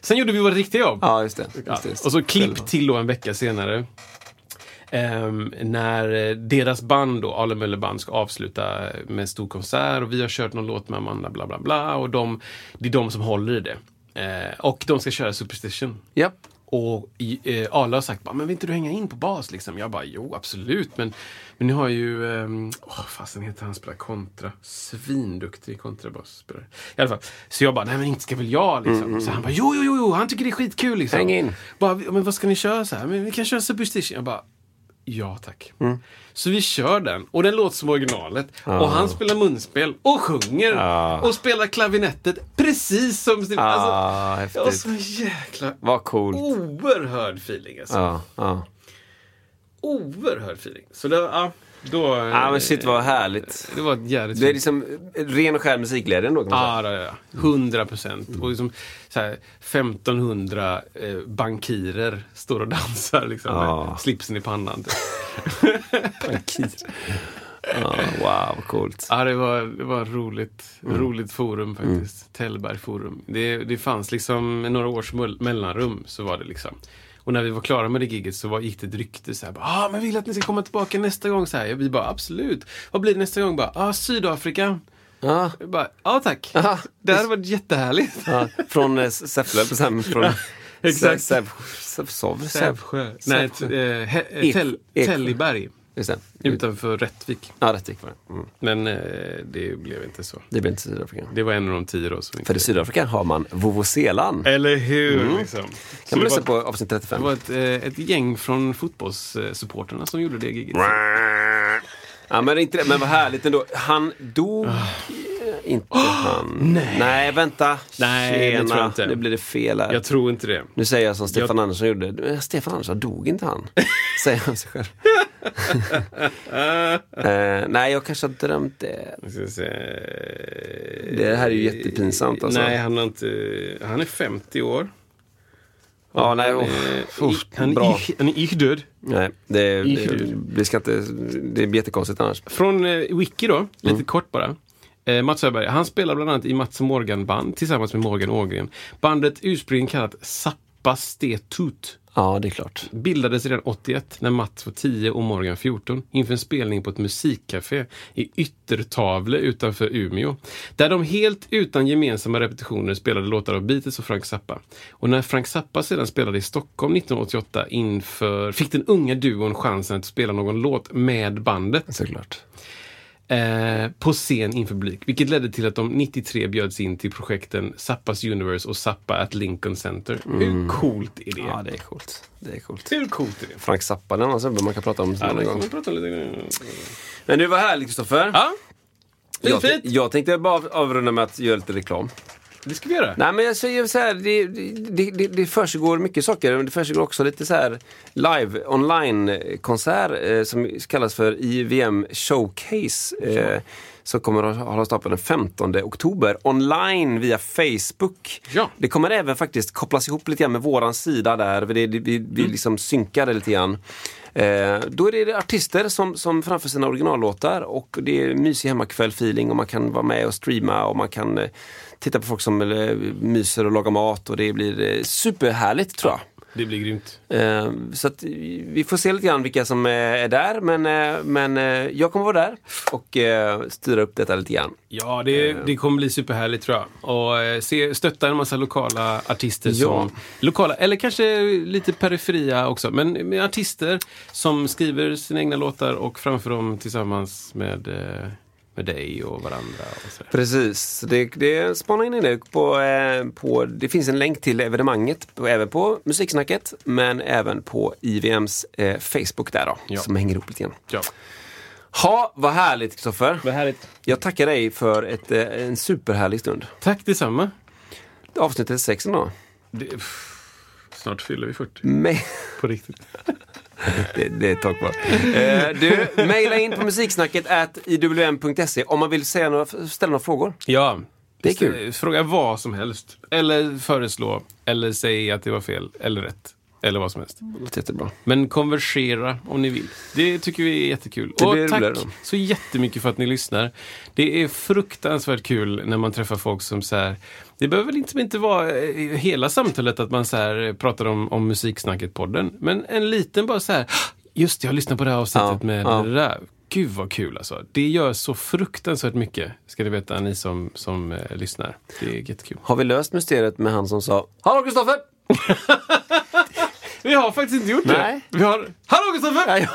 A: sen gjorde vi vårt riktiga jobb.
B: Ja, just det. Just
A: Ja,
B: det, just
A: och så
B: det.
A: klipp till då en vecka senare. ehm, när eh, deras band då, Ale Möller Band, ska avsluta med en stor konsert och vi har kört någon låt med Amanda bla bla bla och de, det är de som håller i det. Eh, och de ska köra Superstition.
B: Ja.
A: Och i- eh, Arla har sagt bara, men vill inte du hänga in på bas liksom? Jag bara, jo absolut, men, men nu har ju, ehm, åh fasen heter han spelar kontra, svinduktig kontrabasspelare. I alla fall, så jag bara, nej men inte ska väl jag liksom. Så han bara, jo jo jo, jo, han tycker det är skitkul liksom.
B: Mm, Häng in.
A: Bara, men vad ska ni köra så här? Men vi kan köra Superstition. Jag bara, ja tack.
B: Mm.
A: Så vi kör den och den låter som originalet. Och
B: Ah.
A: han spelar munspel och sjunger och spelar klavinettet precis som... Steve-
B: Ah,
A: alltså, jag var
B: häftigt.
A: så Oh. jäkla
B: Vad coolt.
A: oerhörd feeling alltså.
B: Ja, ja.
A: Oerhörd feeling. Så det, ja, då...
B: Ja, Ah, men shit vad härligt.
A: Det var ett jävligt
B: Det är
A: fint.
B: liksom ren och skär musikglädje ändå kan man säga.
A: Ja, ja, ja. 100 procent. Och liksom, så här, 1500 eh, bankirer står och dansar liksom,
B: Ja.
A: med slipsen i pannan. typ.
B: Ja, Ah, wow, vad coolt.
A: Ja, det var, det var ett roligt,
B: Mm.
A: roligt forum faktiskt. Tällberg forum. Det, det fanns liksom några års mull- mellanrum, så var det liksom. Och när vi var klara med det giget så var, gick det ett rykte så här, bara, ah, men vill att ni ska komma tillbaka nästa gång. Så här. Vi bara, absolut. Vad blir det nästa gång? Bara, ah, Sydafrika.
B: Ja.
A: Vi bara, ja tack.
B: Aha.
A: Det hade varit jättehärligt.
B: Ja, från eh, Säffle, på Sam- från
A: exakt.
B: Säv- Säv- Säv- Säv- Sävsjö?
A: Nej,
B: Sävsjö.
A: t- eh, he- eh,
B: Ek-
A: Tell-
B: Eksjö.
A: Telliberg.
B: Just det.
A: Utanför Rättvik.
B: Ja, Rättvik var det. Mm.
A: Men eh, det blev inte så.
B: Det blir inte Sydafrika.
A: Det var en av de tio då som inte...
B: För i Sydafrika har man vovoselan.
A: Eller hur? Liksom. Eh, Så
B: Kan man
A: det
B: lyssna
A: var-
B: på avsnitt
A: Det
B: 35?
A: var ett, eh, ett gäng från fotbollssupporterna som gjorde det giget.
B: Ja, men, inte det. men vad härligt ändå. Han dog...
A: Ah.
B: eh, Inte han. Nej, vänta.
A: Nej, det
B: Tjena.
A: tror jag inte.
B: Nu blir det fel här.
A: Jag tror inte det.
B: Nu säger jag som Stefan
A: Jag-
B: Andersson gjorde. Du, eh, Stefan Andersson, dog inte han? säger han sig själv. Eh, nej, jag kanske har drömt det.
A: Jag ska se.
B: Det här är ju jättepinsamt alltså.
A: Nej, han, har inte, han är 50 år.
B: ja, nej,
A: Han
B: oh,
A: är-
B: uff,
A: han är
B: bra.
A: ich- han är ich död.
B: Nej, det, det,
A: Ihud.
B: vi ska inte, det blir jättekonstigt annars.
A: Från eh, Wiki då, lite kort bara. Eh, Mats Öberg, han spelar bland annat i Mats Morgan-band tillsammans med Morgan Ågren. Bandet ursprungligen kallat Zappas det Tut
B: Ja, det är klart.
A: bildades redan 81 när Mats var 10 och Morgan 14 inför en spelning på ett musikcafé i Yttertavle utanför Umeå. Där de helt utan gemensamma repetitioner spelade låtar av Beatles och Frank Zappa. Och när Frank Zappa sedan spelade i Stockholm 1988 inför fick den unga duon chansen att spela någon låt med bandet
B: Såklart.
A: eh, på scen inför publik, vilket ledde till att de 93 bjöds in till projekten Zappas Universe och Zappa at Lincoln Center. Hur coolt är det?
B: Ja, det är coolt. Det är coolt.
A: Hur coolt är det?
B: Frank Zappa, den alltså, man kan prata om
A: Ja,
B: någon
A: det
B: gång.
A: kommer vi prata lite grann om.
B: Men du, var härligt Kristoffer.
A: Ja, det är
B: jag,
A: fint.
B: jag tänkte bara av- avrunda med att göra lite reklam.
A: Det ska vi göra.
B: Nej men jag säger så här, det, det, det, det försiggår mycket saker. Men det försiggår också lite så här live online-konsert eh, som kallas för IVM Showcase. Eh, som kommer att hållas av på den 15 oktober online via Facebook.
A: Ja.
B: Det kommer även faktiskt kopplas ihop lite grann med våran sida där. för Det, det, vi vi liksom synkar det lite grann. Eh, då är det artister som, som framför sina originallåtar och det är mysig hemmakväll-feeling och man kan vara med och streama och man kan eh, titta på folk som eh, myser och lagar mat och det blir eh, superhärligt tror jag.
A: Det blir grymt.
B: Eh, Så att vi får se lite grann vilka som eh, är där men, eh, men eh, jag kommer vara där och eh, styra upp detta lite grann.
A: Ja, det, det kommer bli superhärligt tror jag. Och eh, se, stötta en massa lokala artister
B: Ja.
A: som... Lokala, eller kanske lite periferia också, men med artister som skriver sina egna låtar och framför dem tillsammans med, eh, med dig och varandra. Och sådär.
B: Precis, det, det spana in nu på, eh, på, det finns en länk till evenemanget på, även på Musiksnacket men även på IVMs eh, Facebook där då,
A: Ja.
B: som hänger ihop lite grann.
A: Ja.
B: Ha, vad härligt Kristoffer!
A: Vad härligt.
B: Jag tackar dig för ett, eh, en superhärlig stund.
A: Tack detsamma.
B: Avsnitt 6 då.
A: Det, pff, snart fyller vi 40.
B: Men,
A: På riktigt.
B: det, det är ett tag kvar. Eh, du, mejla in på musiksnacket at iwm.se e om man vill säga några, ställa några frågor.
A: Ja.
B: Det är kul.
A: S- Fråga vad som helst. Eller föreslå. Eller säg att det var fel. Eller rätt. Eller vad som helst.
B: Det låter jättebra.
A: Men konversera om ni vill. Det tycker vi är jättekul.
B: Det
A: och
B: blir
A: tack
B: roligare då.
A: så jättemycket för att ni lyssnar. Det är fruktansvärt kul när man träffar folk som så här... Det behöver liksom inte vara eh, hela samtalet att man så här eh, pratar om, om Musiksnacket-podden. Men en liten bara så här... "Ah, Just det, jag lyssnade på det här avsnittet
B: Ja,
A: typ, med
B: ja.
A: det där. Gud vad kul alltså. Det gör så fruktansvärt mycket, ska ni veta, ni som, som eh, lyssnar. Det är jättekul.
B: Har vi löst mysteriet med han som sa Hallå Kristoffer!
A: Vi har faktiskt inte gjort
B: Nej.
A: det. Vi har... Hallå Kristoffer!
B: Nej,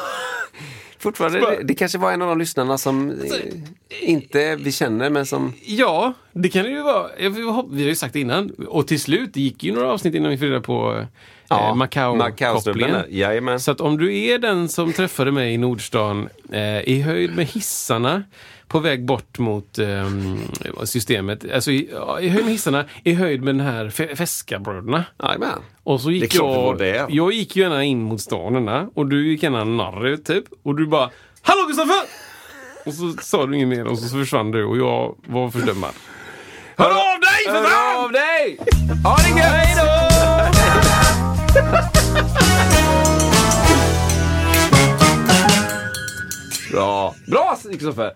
B: Fortfarande,
A: Spö.
B: det, det kanske var en av de lyssnarna som eh, inte vi känner men som...
A: Ja, det kan det ju vara. Jag vill hop- Vi har ju sagt det innan. Och till slut, det gick ju några avsnitt innan vi fick reda på eh,
B: Ja, Macau-snubben
A: Macau-kopplingen.
B: där. Jajamän.
A: så att om du är den som träffade mig i Nordstan eh, i höjd med hissarna på väg bort mot eh, systemet. Alltså i, ja, i höjd med hissarna, i höjd med den här fe- Fescabröderna.
B: Jajamän.
A: Och så
B: Det är
A: gick
B: klart det var
A: jag,
B: det.
A: jag gick ju gärna in mot stan Anna, och du gick gärna norrut typ. Och du bara Hallå Kristoffer! Och så sa du inget mer och så försvann du och jag var fördömad. Hör av dig för
B: Hör
A: fan!
B: av dig! Ha det gött! Hej då! Bra! Bra Kristoffer!